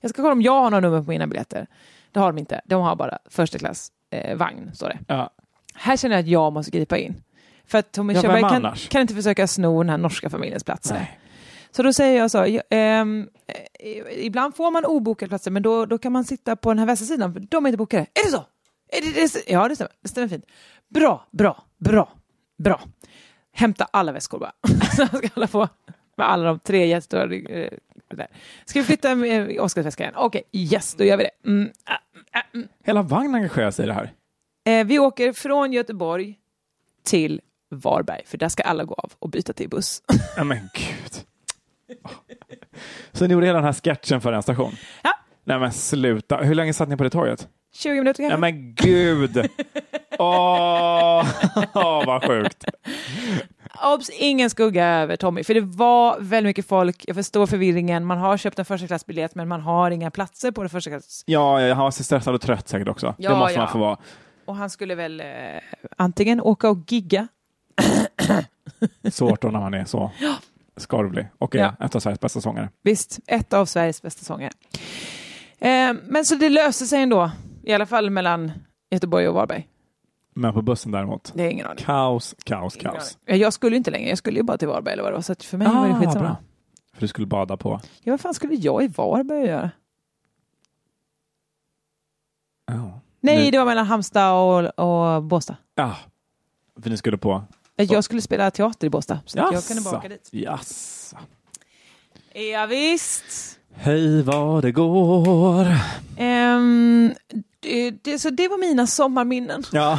Speaker 1: jag ska kolla om jag har några nummer på mina biljetter. Det har de inte, de har bara första klass eh, vagn, står det.
Speaker 2: Ja.
Speaker 1: Här känner jag att jag måste gripa in. För att Tommy
Speaker 2: Ja, vem
Speaker 1: Körberg kan,
Speaker 2: annars?
Speaker 1: kan inte försöka sno den här norska familjens platser.
Speaker 2: Nej.
Speaker 1: Så då säger jag så, jag, ehm, eh, ibland får man obokade platser men då, då kan man sitta på den här västra sidan för de är inte bokade. Är det så? Är det, det, är så- ja, det stämmer. Det stämmer fint. Bra, bra, bra, bra. Hämta alla väskor bara. så ska alla få med alla de tre jättestora. eh, Där. Ska vi flytta eh, Oskars väska igen? Okej, yes, då gör vi det. Mm, ah.
Speaker 2: Hela vagnen engagerar sig i det här.
Speaker 1: Eh, vi åker från Göteborg till Varberg, för där ska alla gå av och byta till buss.
Speaker 2: Ja, men gud. Så ni gjorde hela den här sketchen för en station?
Speaker 1: Ja.
Speaker 2: Nej men sluta. Hur länge satt ni på det torget?
Speaker 1: 20 minuter
Speaker 2: Nej
Speaker 1: kanske?
Speaker 2: men gud. Åh, Åh, vad sjukt.
Speaker 1: Obs, ingen skugga över Tommy, för det var väldigt mycket folk. Jag förstår förvirringen. Man har köpt en första klassbiljett, men man har inga platser på det första klass.
Speaker 2: Ja, han var så stressad och trött säkert också. det
Speaker 1: Ja,
Speaker 2: måste
Speaker 1: ja.
Speaker 2: man få vara.
Speaker 1: Och han skulle väl eh, antingen åka och gigga.
Speaker 2: Svårt då när man är så skarvlig och är
Speaker 1: Ja.
Speaker 2: en av Sveriges bästa sångare.
Speaker 1: Visst, ett av Sveriges bästa sångare. Eh, men så det löste sig ändå, i alla fall mellan Göteborg och Varberg.
Speaker 2: Men på bussen däremot,
Speaker 1: Det är ingen aning.
Speaker 2: kaos, kaos, kaos. Ah,
Speaker 1: Ja, Jag skulle ju inte längre, jag skulle ju bara till Varberg eller vad det var, så att för mig var det skitsamma.
Speaker 2: bra. För du skulle bada på...
Speaker 1: Ja, vad fan skulle jag i Varberg göra?
Speaker 2: Ja.
Speaker 1: Nej,
Speaker 2: Nu-
Speaker 1: det var mellan Halmstad och, och Båstad.
Speaker 2: Ja. För ni skulle på...
Speaker 1: Jag skulle spela teater i Båstad, så att jag kunde bara åka dit.
Speaker 2: Jaså.
Speaker 1: Ja, visst.
Speaker 2: Hej vad det går.
Speaker 1: Ehm, det, det, så det var mina sommarminnen.
Speaker 2: Ja.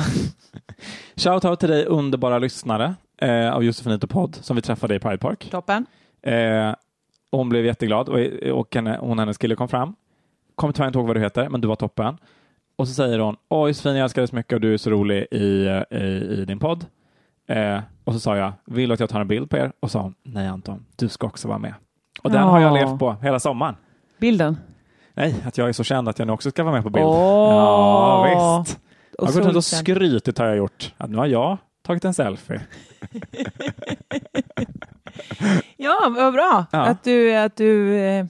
Speaker 2: Shoutout till dig underbara lyssnare eh, av Josefinito podd som vi träffade i Pride Park.
Speaker 1: Toppen.
Speaker 2: Eh, hon blev jätteglad och, och henne, hon och hennes kille kom fram. Kommer tyvärr inte ihåg vad du heter, men du var toppen. Och så säger hon, åh Josefin jag älskar dig så mycket och du är så rolig i, eh, i, i din podd. Eh, och så sa jag, vill du att jag tar en bild på er? Och så sa hon, nej Anton, du ska också vara med. Och den har jag
Speaker 1: Ja.
Speaker 2: levt på hela sommaren.
Speaker 1: Bilden.
Speaker 2: Nej, att jag är så känd att jag nu också ska vara med på bild.
Speaker 1: Åh.
Speaker 2: Ja, visst. Jag har gått runt och
Speaker 1: solsken.
Speaker 2: skrytit har jag gjort. Att nu har jag tagit en selfie.
Speaker 1: Ja, vad bra
Speaker 2: Ja.
Speaker 1: att du, att du eh,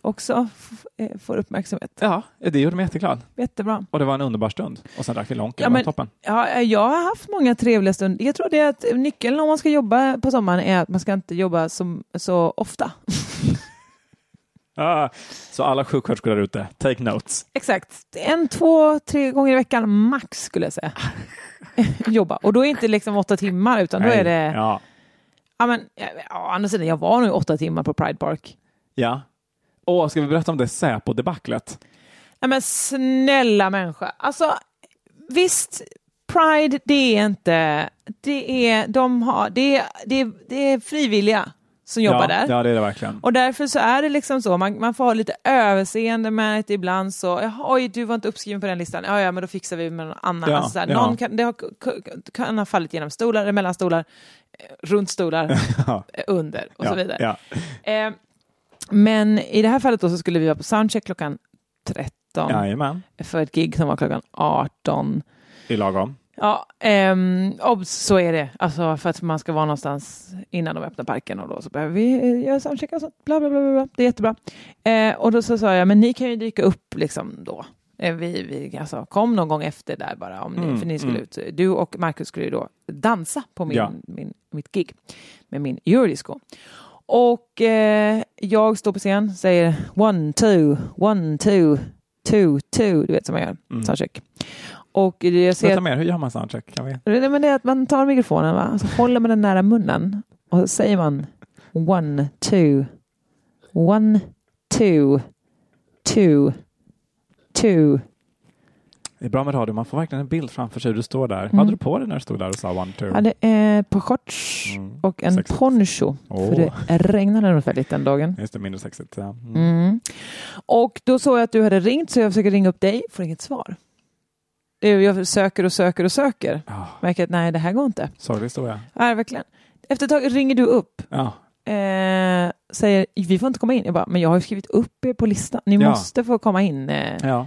Speaker 1: också f- eh, får uppmärksamhet.
Speaker 2: Ja, det gjorde mig jätteglad.
Speaker 1: Jättebra.
Speaker 2: Och det var en underbar stund. Och sen drack vi Lonken.
Speaker 1: Ja,
Speaker 2: Det var
Speaker 1: men-
Speaker 2: toppen.
Speaker 1: Ja, eh, jag har haft många trevliga stunder. Jag tror det är att nyckeln om man ska jobba på sommaren är att man ska inte jobba som, så ofta.
Speaker 2: Ah, så alla sjuksköterskor där ute, take notes.
Speaker 1: Exakt. En, två, tre gånger i veckan max skulle jag säga. jobba. Och då är inte liksom åtta timmar utan då är det... Ja.
Speaker 2: Ja.
Speaker 1: men, ja, ja, å andra sidan, jag var nog åtta timmar på Pride Park.
Speaker 2: ja. Åh, ska vi berätta om det Säpo-debaclet?
Speaker 1: Ja, men snälla människa. Alltså, visst, Pride det är inte... Det är, de har, det är, det är, det är frivilliga som jobbar
Speaker 2: ja,
Speaker 1: där.
Speaker 2: Ja, det är det verkligen.
Speaker 1: Och därför så är det liksom så, man, man får ha lite överseende med att ibland så, jaha, oj du var inte uppskriven på den listan, ja ja men då fixar vi med någon annan.
Speaker 2: Ja,
Speaker 1: alltså så här,
Speaker 2: ja.
Speaker 1: Någon kan, det har, kan, kan ha fallit genom stolar, eller mellan stolar, eh, runt stolar,
Speaker 2: Ja.
Speaker 1: eh, under och
Speaker 2: ja,
Speaker 1: så vidare.
Speaker 2: Ja.
Speaker 1: Eh, men i det här fallet då så skulle vi vara på soundcheck klockan 13
Speaker 2: Jajamän,
Speaker 1: för ett gig som var klockan 18.
Speaker 2: i lagom.
Speaker 1: Ja, ehm, obs, så är det. Alltså för att man ska vara någonstans innan de öppnar parken och då så behöver vi eh, göra soundcheck och sånt. Bla, bla, bla, bla, bla. Det är jättebra. Eh, och då så sa jag, men ni kan ju dyka upp liksom då. Eh, vi, vi alltså, kom någon gång efter där bara, om ni,
Speaker 2: Mm,
Speaker 1: för ni skulle
Speaker 2: mm.
Speaker 1: ut. Du och Markus skulle ju då dansa på min,
Speaker 2: Ja.
Speaker 1: min, mitt gig med min eurodisco. Och eh, jag står på scen, säger one, two, one, two, two, two. Du vet som man gör,
Speaker 2: Mm.
Speaker 1: soundcheck. Och jag ser
Speaker 2: Berätta mer, hur gör man soundcheck? Kan vi?
Speaker 1: Nej, men det är att man tar mikrofonen, va? så håller man den nära munnen och så säger man one, two, one, two, two, two.
Speaker 2: Det är bra med radio, man får verkligen en bild framför sig hur du står där.
Speaker 1: Mm.
Speaker 2: Vad hade du på dig när du stod där och sa one, two?
Speaker 1: Jag hade eh, ett par shorts
Speaker 2: Mm.
Speaker 1: och en
Speaker 2: Sexigt.
Speaker 1: poncho,
Speaker 2: Åh.
Speaker 1: för det regnade ungefärligt den dagen.
Speaker 2: Just det, mindre sexigt. Ja. Mm.
Speaker 1: Mm. Och då såg jag att du hade ringt, så jag försöker ringa upp dig, får inget svar. Det är- Jag söker och söker och söker,
Speaker 2: Ah,
Speaker 1: märker att nej, det här går inte.
Speaker 2: sorglig historia.
Speaker 1: Nej, verkligen. Efter ett tag ringer du upp
Speaker 2: Ja,
Speaker 1: eh, säger vi får inte komma in. Jag bara, men jag har ju skrivit upp er på listan. Ni
Speaker 2: Ja.
Speaker 1: måste få komma in. Eh,
Speaker 2: ja.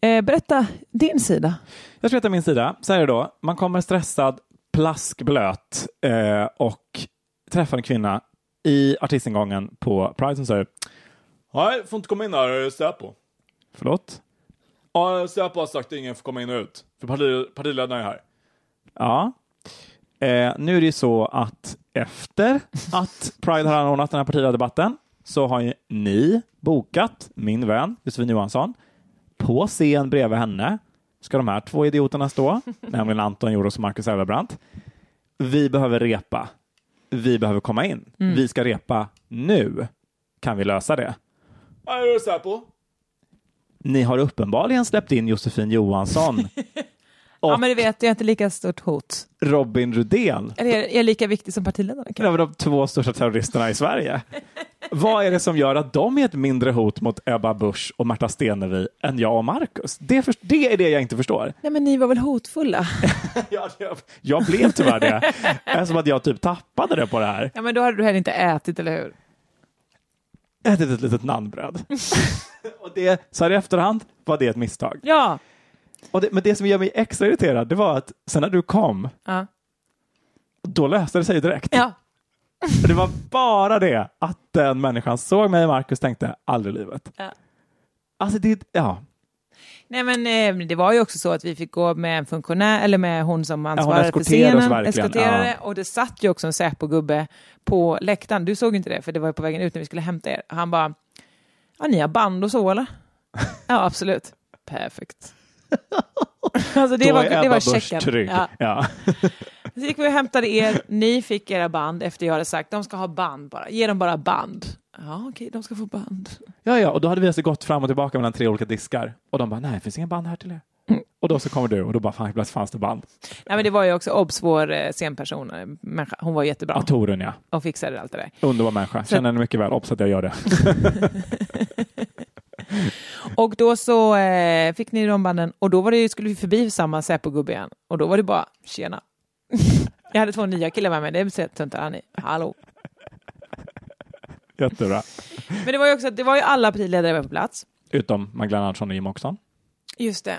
Speaker 1: eh, berätta din sida.
Speaker 2: Jag ska veta min sida. Så här är det då. Man kommer stressad, plaskblöt eh, och träffar en kvinna i artistingången på Pride som säger Nej, får inte komma in här, Säpo. Förlåt? Ja, Säpo har sagt att ingen får komma in och ut, för parti, partiledarna är här. Ja. Eh, nu är det ju så att efter att Pride har anordnat den här partiledardebatten så har ju ni bokat min vän Josefin Johansson på scen bredvid henne ska de här två idioterna stå, nämligen Anton Joros och Marcus Elvebrandt. Vi behöver repa. Vi behöver komma in. Vi ska repa nu. Kan vi lösa det? Vad är det Säpo? Ni har uppenbarligen släppt in Josefin Johansson,
Speaker 1: Ja,
Speaker 2: Och-
Speaker 1: men du vet, jag är inte lika stort hot.
Speaker 2: Robin Rudén.
Speaker 1: Eller jag är lika viktig som partiledarna.
Speaker 2: Det var de två största terroristerna i Sverige. Vad är det som gör att de är ett mindre hot mot Ebba Busch och Märta Stenevi än jag och Marcus? Det, för, det är det jag inte förstår.
Speaker 1: Nej, men ni var väl hotfulla?
Speaker 2: Jag, jag, jag blev tyvärr det. Det är som att jag typ tappade det på det här.
Speaker 1: ja, men då hade du heller inte ätit, eller hur?
Speaker 2: Ätit ett litet naanbröd. Och det, så här i efterhand var det ett misstag.
Speaker 1: Ja.
Speaker 2: Och det, men det som gör mig extra irriterad, det var att sen när du kom,
Speaker 1: Ja.
Speaker 2: då löste det sig direkt.
Speaker 1: ja.
Speaker 2: Det var bara det att den människan såg mig och Marcus tänkte, aldrig i livet.
Speaker 1: Ja.
Speaker 2: Alltså det, ja.
Speaker 1: Nej, men eh, det var ju också så att vi fick gå med en funktionär, eller med hon som
Speaker 2: hon
Speaker 1: ansvarade för
Speaker 2: eskorterade oss
Speaker 1: scenen,
Speaker 2: verkligen,
Speaker 1: eskorterade, och det satt ju också en Säpo-gubbe på läktaren. Du såg ju inte det, för det var ju på vägen ut när vi skulle hämta er. Han bara, ja, ni har band och så eller? ja, absolut. Perfekt. alltså det
Speaker 2: då
Speaker 1: var,
Speaker 2: är
Speaker 1: det
Speaker 2: Ebba
Speaker 1: var
Speaker 2: Busch
Speaker 1: checken.
Speaker 2: trygg.
Speaker 1: Ja.
Speaker 2: Ja.
Speaker 1: Så gick vi och hämtade er, ni fick era band efter jag hade sagt, de ska ha band bara, ge dem bara band. Ja, okej, de ska få band.
Speaker 2: Ja, ja, och då hade vi alltså gått fram och tillbaka mellan tre olika diskar och de bara, nej, det finns ingen band här till er.
Speaker 1: Mm.
Speaker 2: Och då så kommer du och då bara, fan, plötsligt fanns det band.
Speaker 1: Nej, men det var ju också obs, vår eh, scenperson, eh, människa, hon var jättebra.
Speaker 2: Ja, Torun ja.
Speaker 1: och fixade allt det där.
Speaker 2: Underbar människa. Känner henne mycket väl. Obs att jag gör det.
Speaker 1: Och då så eh, fick ni de banden och då var det, ju- skulle vi förbi samma Säpo-gubbe igen och då var det bara tjena. Jag hade två nya killar med mig, det betyder tuntar han i. Hallå.
Speaker 2: Jättebra.
Speaker 1: Men det var ju också att det var ju alla partiledare på plats.
Speaker 2: Utom Magdalena Andersson och Jimmie Åkesson.
Speaker 1: Just det.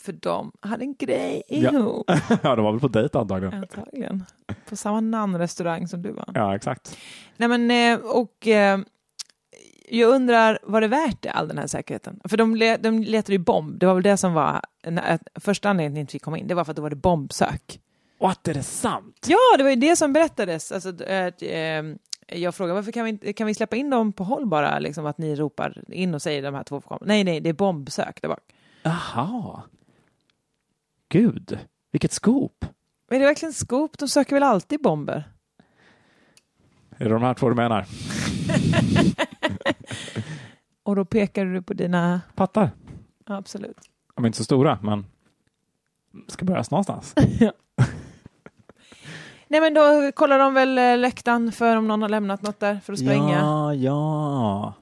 Speaker 1: För de hade en grej
Speaker 2: Ja.
Speaker 1: ihop,
Speaker 2: ja, de var väl på dejt antagligen.
Speaker 1: antagligen. På samma namnrestaurang som du var.
Speaker 2: Ja, exakt.
Speaker 1: Nej men, eh, och eh, jag undrar, var det värt det, all den här säkerheten? För de, le, de letade ju bomb. Det var väl det som var en, att första anledningen till att ni inte fick komma in. Det var för att då var det bombsök.
Speaker 2: What, är det sant?
Speaker 1: Ja, det var ju det som berättades. Alltså, att, eh, jag frågade varför kan vi, inte- kan vi släppa in dem på håll bara? Liksom, att ni ropar in och säger de här två får komma. Nej, nej, det är bombsök där bak.
Speaker 2: Jaha. Gud, vilket scoop.
Speaker 1: Men det är verkligen skop. De söker väl alltid bomber?
Speaker 2: Är det de här två du menar?
Speaker 1: Och då pekade du på dina...
Speaker 2: Pattar.
Speaker 1: Ja, absolut.
Speaker 2: De är inte så stora, men ska börjas någonstans.
Speaker 1: Nej, men då kollar de väl eh, läktaren för om någon har lämnat något där för att spränga.
Speaker 2: Ja, ja.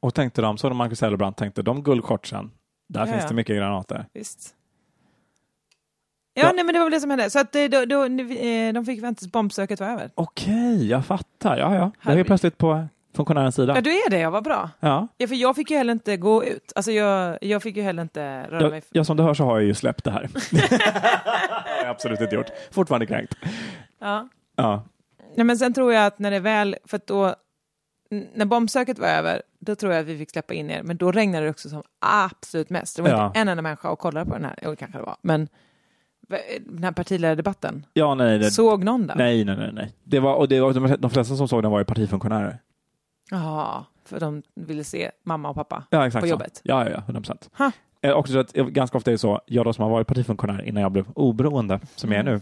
Speaker 2: Och tänkte de, så de Marcus Hellebrandt tänkte, de guldkortsen, där
Speaker 1: Ja,
Speaker 2: finns
Speaker 1: ja.
Speaker 2: det mycket granater.
Speaker 1: Visst. Ja,
Speaker 2: Ja.
Speaker 1: nej men det var väl det som hände. Så att eh, då, då, eh, de fick vänta tills bombsöket var över.
Speaker 2: Okej, jag fattar. Ja, ja. Jag är
Speaker 1: Herregud.
Speaker 2: helt plötsligt på funktionärens
Speaker 1: Ja,
Speaker 2: sida.
Speaker 1: du är det, jag var bra.
Speaker 2: Ja.
Speaker 1: Ja, för jag fick ju heller inte gå ut. Alltså jag, jag fick ju heller inte röra mig.
Speaker 2: Jag, ja, som du hör så har jag ju släppt det här. det har jag absolut inte gjort. Fortfarande kränkt.
Speaker 1: Ja.
Speaker 2: Ja.
Speaker 1: Nej, men sen tror jag att när det väl, för att då, n- när bombsöket var över, då tror jag att vi fick släppa in er. Men då regnade det också som absolut mest. Det var
Speaker 2: Ja.
Speaker 1: inte en enda människa och kollade på den här, jo det kanske det var, men v- den här partiledardebatten.
Speaker 2: ja, nej, det,
Speaker 1: Såg någon den?
Speaker 2: nej, nej, nej, nej. Det var, och det var, de- de flesta som såg den var ju partifunktionärer.
Speaker 1: Ja, för de ville se mamma och pappa.
Speaker 2: Ja, exakt
Speaker 1: På
Speaker 2: så.
Speaker 1: jobbet.
Speaker 2: Ja, ja, ja, 100 procent.
Speaker 1: Ha.
Speaker 2: Eh, också så att jag, ganska ofta är det så, jag då som har varit partifunktionär innan jag blev oberoende, som jag är nu,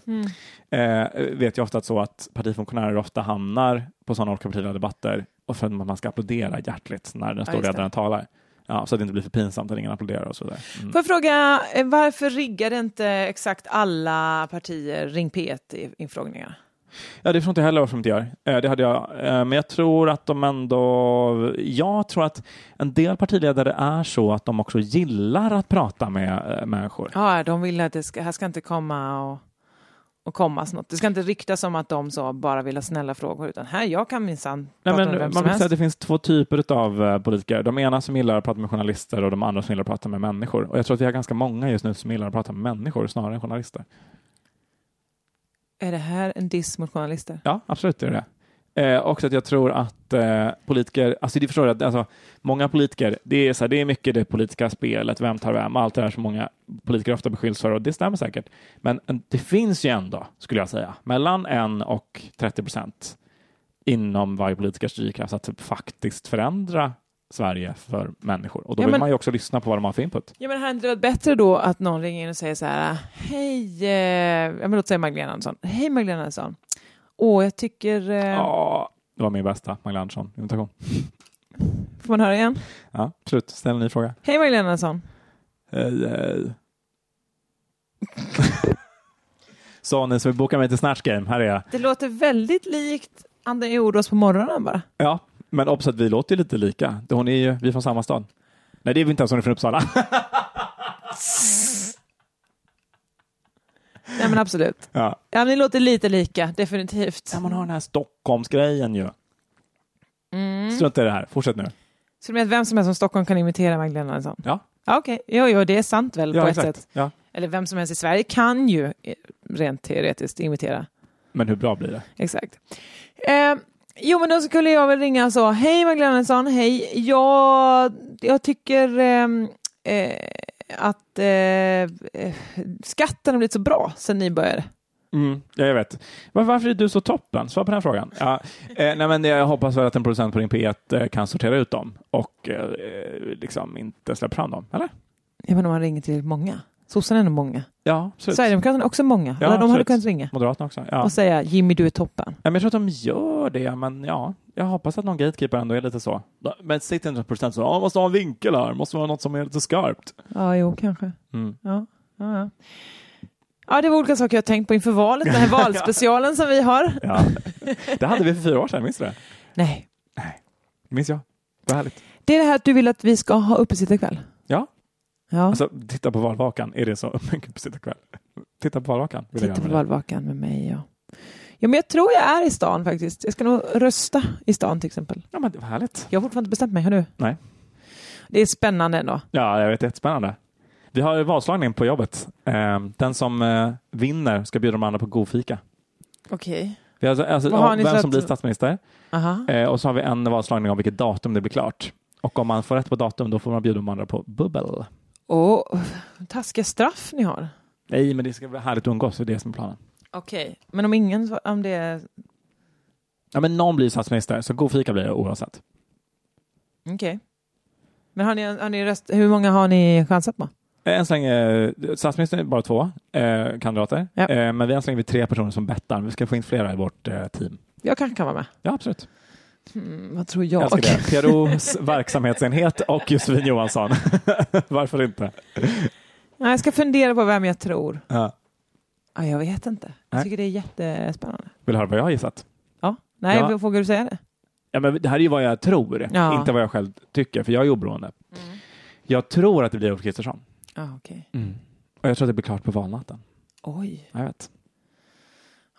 Speaker 1: Mm.
Speaker 2: eh, vet jag ofta att så att partifunktionärer ofta hamnar på sådana olika partiledardebatter och för att man ska applådera hjärtligt när den stora
Speaker 1: just det.
Speaker 2: ledaren talar. Ja, så att det inte blir för pinsamt att ingen applåderar och så vidare. Mm.
Speaker 1: Får jag fråga, eh, varför riggade inte exakt alla partier Ring P1 i infrågningar?
Speaker 2: Ja, det förstår inte jag heller varför de inte gör. Eh, Det hade jag. Eh, Men jag tror att de ändå... Jag tror att en del partiledare är så att de också gillar att prata med eh, människor.
Speaker 1: Ja, de vill att det ska, här ska inte komma och, och kommas något. Det ska inte ryktas om att de så bara vill ha snälla frågor, utan här, jag kan minsann
Speaker 2: Nej,
Speaker 1: prata
Speaker 2: men
Speaker 1: med vem
Speaker 2: man
Speaker 1: som
Speaker 2: brukar säga att
Speaker 1: helst.
Speaker 2: det finns två typer av eh, politiker. De ena som gillar att prata med journalister och de andra som gillar att prata med människor. Och jag tror att vi har ganska många just nu som gillar att prata med människor snarare än journalister.
Speaker 1: Är det här en diss mot journalister?
Speaker 2: Ja, absolut är det det. Eh, också att jag tror att eh, politiker, alltså det förstår jag, att, alltså, många politiker, det är, så här, det är mycket det politiska spelet, vem tar vem, allt det där som många politiker ofta beskylls för och det stämmer säkert. Men en- det finns ju ändå, skulle jag säga, mellan 1 och 30 procent inom varje politikers drivkraft att typ faktiskt förändra Sverige för människor. Och då
Speaker 1: Ja,
Speaker 2: vill
Speaker 1: men-
Speaker 2: man ju också lyssna på vad de har för input.
Speaker 1: Ja, men hade det inte varit bättre då att någon ringer in och säger så här, hej, eh, ja, men låt säga Magdalena Andersson. Hej Magdalena Andersson. Åh, jag tycker... Eh,
Speaker 2: Ja, det var min bästa Magdalena Andersson-imitation.
Speaker 1: Får man höra igen?
Speaker 2: Ja, absolut. Ställ en ny fråga.
Speaker 1: Hej Magdalena Andersson.
Speaker 2: Hej, hej. Så ni som vill boka mig till Snatch Game, här är jag.
Speaker 1: Det låter väldigt likt Anden Jordås på morgonen bara.
Speaker 2: Ja, men också att vi låter ju lite lika. Hon är ju, vi är från samma stad. Nej, det är vi inte ens, hon är från Uppsala.
Speaker 1: Nej men absolut.
Speaker 2: Ja.
Speaker 1: Ja, ni låter lite lika, definitivt.
Speaker 2: Man har den här Stockholmsgrejen ju.
Speaker 1: Mm.
Speaker 2: Strunt i det här, fortsätt nu.
Speaker 1: Så du menar att vem som helst från Stockholm kan imitera Magdalena Andersson?
Speaker 2: Ja.
Speaker 1: Ja, Okej, jo, jo, det är sant väl på ett sätt.
Speaker 2: Ja.
Speaker 1: Eller vem som helst i Sverige kan ju eh, rent teoretiskt imitera.
Speaker 2: Men hur bra blir det?
Speaker 1: Exakt. Eh, jo, men då skulle jag väl ringa och så. Hej Magdalena Andersson, hej. Jag, jag tycker ehm, eh, att eh, eh, skatten har blivit så bra sedan ni började.
Speaker 2: Mm, ja, jag vet. Var, varför är du så toppen? Svar på den här frågan. Ja, eh, nej, men jag hoppas väl att en producent på din P1 eh, kan sortera ut dem och eh, liksom inte släppa fram dem, eller?
Speaker 1: Jag menar om man ringer till många. Sossarna är nog många.
Speaker 2: Ja, absolut.
Speaker 1: Sverigedemokraterna är också många.
Speaker 2: Typ. Ja,
Speaker 1: Alla de hade
Speaker 2: absolut.
Speaker 1: kunnat ringa
Speaker 2: Moderaterna också. Ja.
Speaker 1: och säga Jimmy du är toppen.
Speaker 2: Ja, men jag tror att de gör det, men ja, jag hoppas att någon gatekeeper ändå är lite så. Men sitter inte procent så, ja, måste ha en vinkel här, måste vara något som är lite skarpt.
Speaker 1: Ja, jo, kanske.
Speaker 2: Mm.
Speaker 1: Ja, ja, ja. ja, det var olika saker jag tänkt på inför valet. Den här valspecialen som vi har.
Speaker 2: Ja. Det hade vi för fyra år sedan, minns du det?
Speaker 1: Nej,
Speaker 2: Minns jag. Vad härligt.
Speaker 1: det är det här att du vill att vi ska ha uppesittarkväll.
Speaker 2: Ja.
Speaker 1: Ja,
Speaker 2: Alltså, titta på valvakan, är det så mycket sitta kväll? Titta på valvakan. vill jag
Speaker 1: titta på
Speaker 2: göra med dig.
Speaker 1: valvakan med mig. Ja. ja, men jag tror jag är i stan faktiskt. Jag ska nog rösta i stan till exempel.
Speaker 2: Ja, men det var härligt.
Speaker 1: Jag har fortfarande inte bestämt mig, har du?
Speaker 2: Nej.
Speaker 1: Det är spännande ändå.
Speaker 2: Ja, jag vet, det är jättespännande. Vi har valslagning Ehm, på jobbet. Eh, Den som eh, vinner ska bjuda de andra på god fika.
Speaker 1: Okej.
Speaker 2: Vi har alltså, alltså,
Speaker 1: Vad har ni
Speaker 2: vem
Speaker 1: för
Speaker 2: som
Speaker 1: att-
Speaker 2: blir statsminister.
Speaker 1: Aha.
Speaker 2: Eh, och så har vi en valslagning om vilket datum det blir klart. Och om man får rätt på datum då får man bjuda de andra på bubbel.
Speaker 1: Och taskiga straff ni har.
Speaker 2: Nej, men det ska bli härligt att umgås. Det är det som är planen.
Speaker 1: Okej, men om ingen... svar- Om det är...
Speaker 2: Ja, men någon blir statsminister, så god fika blir det oavsett.
Speaker 1: Okej. Men har ni, har ni röst... Hur många har ni chansat på?
Speaker 2: Eh, Än så länge, eh, statsministern är bara två eh, kandidater,
Speaker 1: Ja.
Speaker 2: eh, men vi än så länge vi tre personer som bettar. Vi ska få in flera i vårt eh, team.
Speaker 1: Jag kanske kan vara med.
Speaker 2: Ja, absolut.
Speaker 1: Mm, vad tror
Speaker 2: Jag
Speaker 1: jag?
Speaker 2: älskar det. PROs verksamhetsenhet och Josefin Johansson. Varför inte?
Speaker 1: Nej, jag ska fundera på vem jag tror.
Speaker 2: Ja.
Speaker 1: Ja, jag vet inte.
Speaker 2: Nej.
Speaker 1: Jag tycker det är jättespännande.
Speaker 2: Vill du höra vad jag har gissat?
Speaker 1: Ja. Nej,
Speaker 2: Ja.
Speaker 1: vågar du säga det?
Speaker 2: Ja, men det här är ju vad jag tror,
Speaker 1: Ja. Mm.
Speaker 2: inte vad jag själv tycker, för jag är oberoende. Jag tror att det blir Ulf Kristersson.
Speaker 1: Ja, okej.
Speaker 2: Och jag tror att det blir klart på valnatten.
Speaker 1: Oj.
Speaker 2: Ja, Jag vet.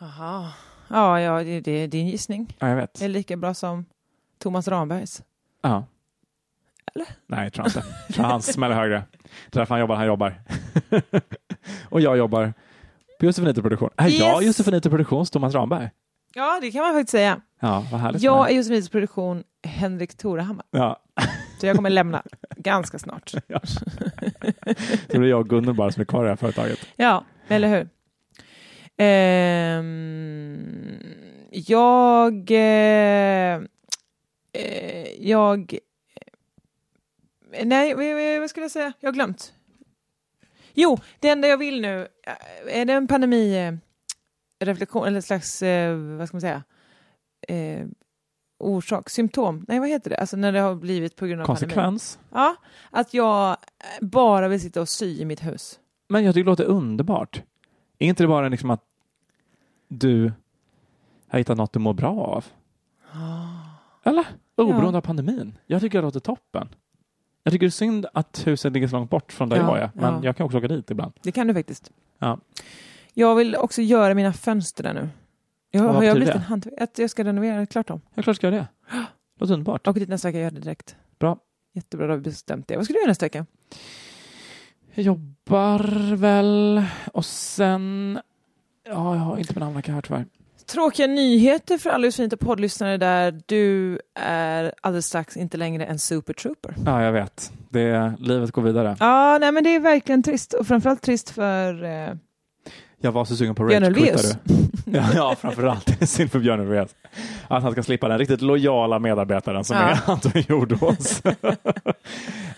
Speaker 1: Aha. Ja, ja det, det är din gissning.
Speaker 2: Ja, jag vet.
Speaker 1: Det är lika bra som Thomas Rambergs.
Speaker 2: Ja. Eller? Nej, jag tror inte. Jag tror han smäller högre. Jag tror därför han jobbar, han jobbar. och jag jobbar på Josefinito Produktion. Äh, Är jag
Speaker 1: Yes.
Speaker 2: Josefinito Produktions Thomas Ramberg?
Speaker 1: Ja, det kan man faktiskt säga.
Speaker 2: Ja, vad härligt.
Speaker 1: Jag är Josefins produktion Henrik Torehammar.
Speaker 2: Ja,
Speaker 1: Så jag kommer lämna ganska snart.
Speaker 2: så det är jag och Gunnel bara som är kvar i det här företaget.
Speaker 1: Ja, eller hur? Ehm, jag... Eh, eh, jag... eh, Nej, vad- vad- vad skulle jag säga? Jag har glömt. Jo, det enda jag vill nu, eh, är det en pandemi-reflektion eller slags, eh, vad ska man säga, eh, orsak, symptom? Nej, vad heter det? Alltså när det har blivit på grund av pandemin.
Speaker 2: Konsekvens.
Speaker 1: Ja, att jag eh, bara vill sitta och sy i mitt hus.
Speaker 2: Men jag tycker det låter underbart. Är inte det bara liksom att du har hittat något du mår bra av? Eller? Oberoende av pandemin. Jag tycker det låter toppen. Jag tycker det är synd att huset ligger så långt bort från där
Speaker 1: Ja,
Speaker 2: jag är, men
Speaker 1: ja.
Speaker 2: jag kan också åka dit ibland.
Speaker 1: Det kan du faktiskt.
Speaker 2: Ja.
Speaker 1: Jag vill också göra mina fönster där nu. Jag,
Speaker 2: Vad
Speaker 1: har jag
Speaker 2: betyder
Speaker 1: blivit
Speaker 2: det?
Speaker 1: en hantverkare? Att jag ska renovera klart dem.
Speaker 2: Ja, klart ska jag det. Låter underbart.
Speaker 1: Jag åker dit nästa vecka och gör det direkt.
Speaker 2: Bra.
Speaker 1: Jättebra, då har vi bestämt det. Vad ska du göra nästa vecka?
Speaker 2: Jag jobbar väl och sen... Ja, jag har inte min almanacka här tyvärr.
Speaker 1: Tråkiga nyheter för alla Josefin och poddlyssnare där du är alldeles strax inte längre en super trooper.
Speaker 2: Ja, jag vet. Det, livet går vidare.
Speaker 1: Ja, nej men det är verkligen trist och framförallt trist för... Eh,
Speaker 2: Jag var så sugen på
Speaker 1: Björn
Speaker 2: rage
Speaker 1: Ulvaeus.
Speaker 2: quittar du. Ja, ja framförallt. Synd för Björn Ulvaeus. Att han ska slippa den riktigt lojala medarbetaren som
Speaker 1: Ja.
Speaker 2: är Anton Jordås.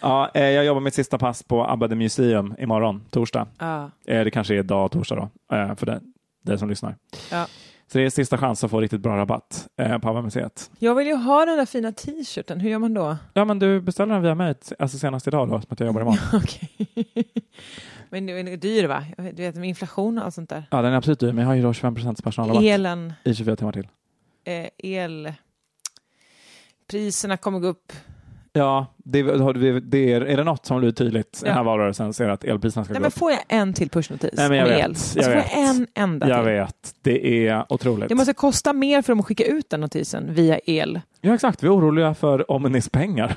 Speaker 2: ja, eh, jag jobbar mitt sista pass på Abba the Museum imorgon, torsdag.
Speaker 1: ja.
Speaker 2: Eh, Det kanske är dag torsdag då, eh, för dig- dig som lyssnar.
Speaker 1: Ja.
Speaker 2: Så det är sista chans att få riktigt bra rabatt eh, på Abba-museet.
Speaker 1: Jag vill ju ha den där fina t-shirten, hur gör man då?
Speaker 2: Ja, men du beställer den via mig alltså senast idag då, som att jag jobbar imorgon.
Speaker 1: Okej. men den är dyr va? Jag vet- Du vet, med inflation och allt sånt där.
Speaker 2: Ja, den är absolut dyr, men jag har ju då 25 personalrabatt
Speaker 1: Elen.
Speaker 2: i 24 timmar till.
Speaker 1: eh, elpriserna kommer gå upp.
Speaker 2: Ja, det, har du- det är, är det något som har blivit tydligt den här
Speaker 1: Ja.
Speaker 2: valrörelsen så är det att elpriserna ska
Speaker 1: Nej,
Speaker 2: gå
Speaker 1: men
Speaker 2: upp.
Speaker 1: får jag en till pushnotis
Speaker 2: Nej, men jag
Speaker 1: om
Speaker 2: vet,
Speaker 1: el? Alltså,
Speaker 2: jag
Speaker 1: får
Speaker 2: vet.
Speaker 1: jag en enda
Speaker 2: Jag
Speaker 1: till?
Speaker 2: vet, det är otroligt.
Speaker 1: Det måste kosta mer för dem att skicka ut den notisen via el.
Speaker 2: Ja, exakt. Vi är oroliga för Omnis pengar.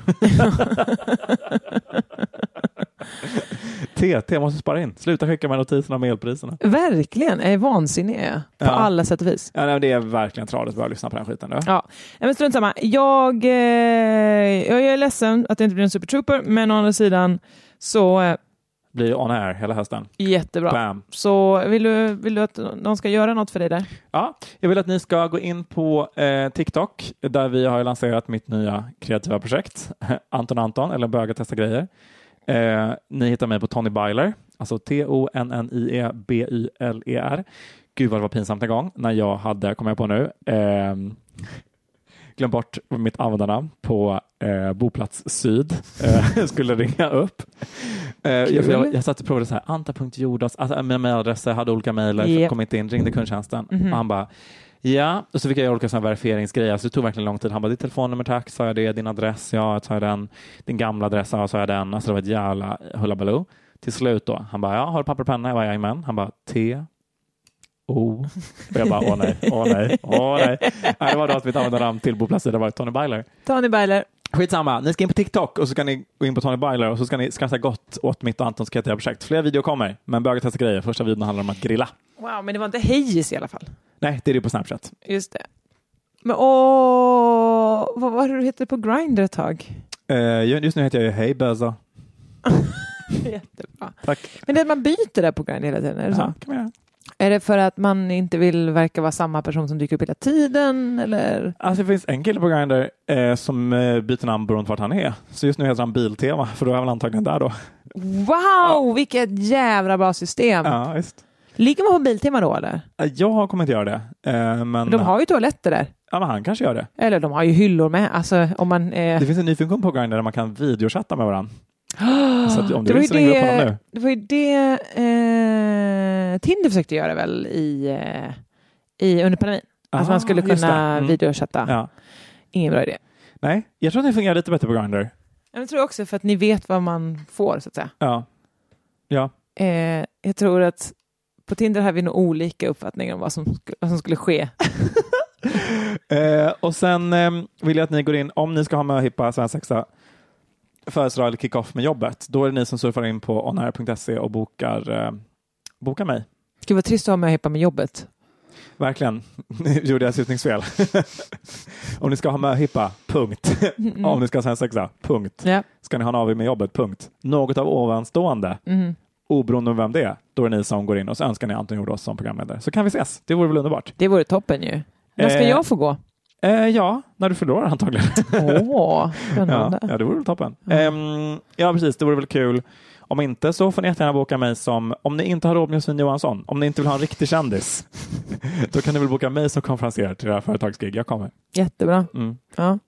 Speaker 2: TT måste spara in. Sluta skicka med notiserna om elpriserna.
Speaker 1: Verkligen, jag är vansinnig är jag, på
Speaker 2: Ja.
Speaker 1: alla sätt och vis.
Speaker 2: Ja, nej, men det är verkligen tradigt att börja lyssna på den skiten. Du.
Speaker 1: Ja, Nej, men strunt samma. Jag, eh, jag är ledsen att det inte blir en super trooper, men å andra sidan så eh,
Speaker 2: Blir on air hela hösten.
Speaker 1: jättebra.
Speaker 2: Bam.
Speaker 1: Så vill du, vill du att någon ska göra något för dig där?
Speaker 2: Ja, jag vill att ni ska gå in på eh, TikTok där vi har lanserat mitt nya kreativa projekt Anton Anton eller Böga testa grejer. Eh, ni hittar mig på Tony Byler, alltså E T-O-N-N-I-E-B-Y-L-E-R. E Gud vad det var pinsamt en gång när jag hade, kommer jag på nu, ehm, glöm bort mitt användarnamn på eh, Boplats Syd. Eh, skulle ringa upp. Eh, jag, jag, jag satt och provade så här, anta.jordas, alltså mina mejladresser, hade olika mejler,
Speaker 1: Japp.
Speaker 2: kom inte in, ringde kundtjänsten. Och han bara, ja, och så fick jag göra olika såna här verifieringsgrejer, alltså det tog verkligen lång tid. Han bara, ditt telefonnummer tack, sa jag det, din adress, ja, sa jag den, din gamla adress, ja, sa jag den. Alltså det var ett jävla hullabaloo. Till slut då, han bara, ja, har du papper och penna? Jag bara, jajamän. Han bara, T, O. Och jag bara, åh nej, åh nej, åh nej. nej det var då att mitt användarnamn till Boplats sida var Tony Byler.
Speaker 1: Tony Byler,
Speaker 2: Skitsamma, ni ska in på TikTok och så ska ni gå in på Tony Byler och så ska ni skratta gott åt mitt och Antons kreativa projekt. Fler videor kommer, men bögar testa grejer. Första videon handlar om att grilla.
Speaker 1: Wow, men det var inte Hayes i alla fall.
Speaker 2: Nej, det är det på Snapchat.
Speaker 1: Just det. Men åh, vad var det du hette på Grindr ett tag?
Speaker 2: Eh, just nu heter jag ju Hej Böza.
Speaker 1: Jättebra.
Speaker 2: Tack.
Speaker 1: Men det är att man byter där på Grindr hela tiden, är det så?
Speaker 2: Ja, kan man göra.
Speaker 1: Är det för att man inte vill verka vara samma person som dyker upp hela tiden? Eller?
Speaker 2: Alltså det finns en kille på Grindr eh, som eh, byter namn beroende på vart han är. Så just nu heter han Biltema, för då är han väl antagligen där då.
Speaker 1: Wow, vilket jävla bra system!
Speaker 2: Ja, visst.
Speaker 1: Ligger man på Biltema då eller?
Speaker 2: Eh, Jag kommer inte göra det. Eh, men,
Speaker 1: De har ju toaletter där.
Speaker 2: ja, men han kanske gör det.
Speaker 1: Eller de har ju hyllor med. Alltså, om man, eh...
Speaker 2: Det finns en ny funktion på Grindr där man kan videochatta med varandra. Så att om
Speaker 1: Det
Speaker 2: du
Speaker 1: var
Speaker 2: vill så
Speaker 1: ju
Speaker 2: ringer du upp
Speaker 1: det-
Speaker 2: honom nu.
Speaker 1: Det var ju det eh, Tinder försökte göra väl i, eh, i, under pandemin. att Alltså, man skulle
Speaker 2: Ah, just
Speaker 1: kunna
Speaker 2: det. Mm.
Speaker 1: videochatta.
Speaker 2: Ja.
Speaker 1: Ingen bra idé.
Speaker 2: Nej, jag tror att det fungerar lite bättre på Grindr.
Speaker 1: Jag tror också för att ni vet vad man får så att säga.
Speaker 2: Ja. Ja.
Speaker 1: Eh, jag tror att på Tinder har vi nog olika uppfattningar om vad som, sk- vad som skulle ske.
Speaker 2: Eh, och sen eh, vill jag att ni går in, om ni ska ha möhippa, svensexa, födelsedag eller kick-off med jobbet, då är det ni som surfar in på onair.se och bokar, eh, bokar mig.
Speaker 1: Gud vad trist att ha med att hippa med jobbet.
Speaker 2: Verkligen. Nu gjorde jag syftningsfel. om ni ska ha möhippa, punkt. om ni ska ha svensexa, punkt.
Speaker 1: Mm. Ja.
Speaker 2: Ska ni ha en AW med jobbet, punkt. Något av ovanstående,
Speaker 1: Mm.
Speaker 2: oberoende om vem det är, då är det ni som går in och så önskar ni Anton Jordås som programledare. Så kan vi ses, det vore väl underbart.
Speaker 1: Det vore toppen ju. När ska
Speaker 2: Eh.
Speaker 1: jag få gå?
Speaker 2: Eh, ja, när du förlorar antagligen.
Speaker 1: Åh,
Speaker 2: Ja,
Speaker 1: spännande.
Speaker 2: ja, det vore väl toppen. Ehm, ja, precis. Det vore väl kul. Om inte så får ni jättegärna boka mig som, om ni inte har råd med Josefin Johansson, om ni inte vill ha en riktig kändis, då kan ni väl boka mig som konferensier till det här företagsgig. Jag kommer.
Speaker 1: Jättebra.
Speaker 2: Mm.
Speaker 1: Ja.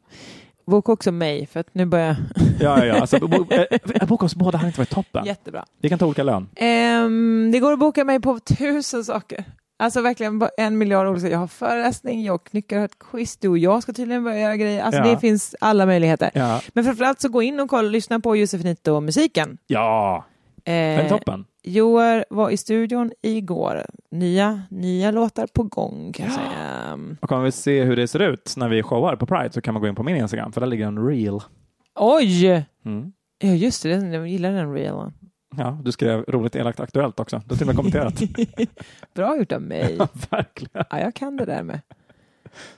Speaker 1: Boka också mig för att nu börjar
Speaker 2: Ja, ja, ja. Alltså, bo, eh, boka oss båda hade inte varit toppen.
Speaker 1: jag... Jättebra.
Speaker 2: Vi kan ta olika lön.
Speaker 1: Ehm, det går att boka mig på tusen saker. Alltså verkligen bara en miljard olika. Jag har föreläsning, jag knycker, har ett quiz, du och jag ska tydligen börja göra grejer. Alltså
Speaker 2: Ja.
Speaker 1: det finns alla möjligheter.
Speaker 2: Ja,
Speaker 1: Men framförallt så gå in och kolla, lyssna på Josefinito och musiken.
Speaker 2: ja. det är
Speaker 1: Eh,
Speaker 2: toppen.
Speaker 1: Joar var i studion igår. Nya, nya låtar på gång kan jag säga. Ehm,
Speaker 2: Och kommer vi se hur det ser ut när vi showar på Pride så kan man gå in på min Instagram, för där ligger en reel.
Speaker 1: Oj!
Speaker 2: Mm.
Speaker 1: Ja just det, den- jag gillar den reelen.
Speaker 2: Ja, du skrev roligt, elakt, aktuellt också. Du har till och med kommenterat.
Speaker 1: Bra gjort av mig.
Speaker 2: Verkligen.
Speaker 1: Ja, jag kan det där med.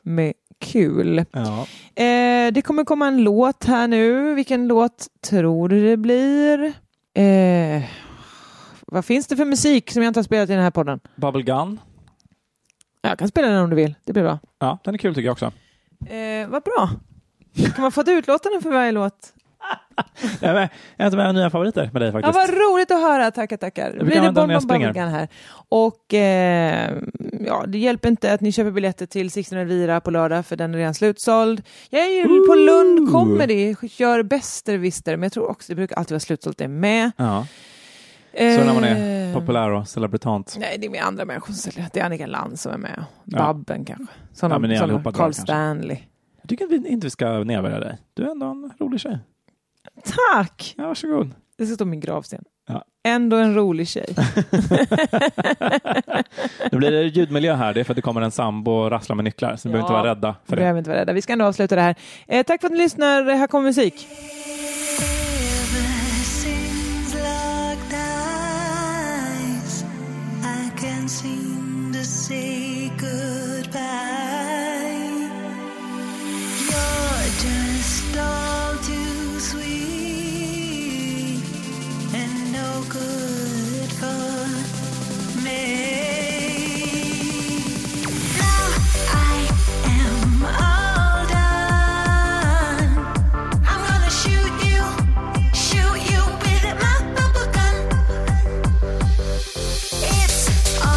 Speaker 1: Med kul.
Speaker 2: Ja.
Speaker 1: Eh, det kommer komma en låt här nu. Vilken låt tror du det blir? Eh, vad finns det för musik som jag inte har spelat i den här podden?
Speaker 2: Bubblegum.
Speaker 1: Jag kan spela den om du vill. Det blir bra.
Speaker 2: Ja, den är kul tycker jag också.
Speaker 1: Eh, vad bra. Kan man få ett utlåtande för varje låt?
Speaker 2: Jag är med- en av mina nya favoriter med dig
Speaker 1: Ja,
Speaker 2: faktiskt.
Speaker 1: vad roligt att höra. Tackar, tackar. Då blir det
Speaker 2: använda den när jag
Speaker 1: Bonbon
Speaker 2: springer.
Speaker 1: Bubblegum här. Och eh, ja, det hjälper inte att ni köper biljetter till Sixten Elvira på lördag för den är redan slutsåld. Jag är ju på Lund Comedy, kör Bästervister, men jag tror också det brukar alltid vara slutsålt det med.
Speaker 2: Ja. Så när man är populär och celebritant.
Speaker 1: Eh, Nej, det är med andra människor som säljer. Det är Annika Land som är med.
Speaker 2: Ja.
Speaker 1: Babben kanske. Sådana,
Speaker 2: Ja, men ni är
Speaker 1: sådana.
Speaker 2: allihopa drar
Speaker 1: Carl
Speaker 2: kanske.
Speaker 1: Stanley.
Speaker 2: Jag tycker att vi inte ska nedvärdera dig. Du är ändå en rolig tjej.
Speaker 1: Tack!
Speaker 2: Ja, varsågod.
Speaker 1: Det ska stå på min gravsten.
Speaker 2: Ja.
Speaker 1: Ändå en rolig tjej.
Speaker 2: Nu blir det ljudmiljö här. Det är för att det kommer en sambo och rasslar med nycklar. Så ni behöver
Speaker 1: Ja.
Speaker 2: inte vara rädda för det.
Speaker 1: Behöver inte vara rädda. Vi ska ändå avsluta det här. Eh, tack för att ni lyssnar. Här kommer musik.
Speaker 5: I am all done. I'm gonna show Oh,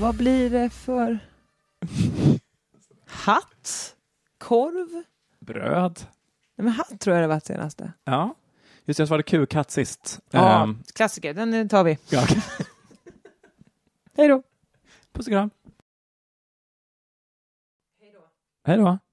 Speaker 1: Vad blir det för hatt? Korv? Nej,
Speaker 2: Bröd.
Speaker 1: men hatt tror jag det var senaste.
Speaker 2: Ja. Just det, jag svarade kukhatt sist.
Speaker 1: Ja,
Speaker 2: Ehm,
Speaker 1: klassiker. Den tar vi.
Speaker 2: ja.
Speaker 1: Hej då.
Speaker 2: Puss och kram. Hej då. Hej då.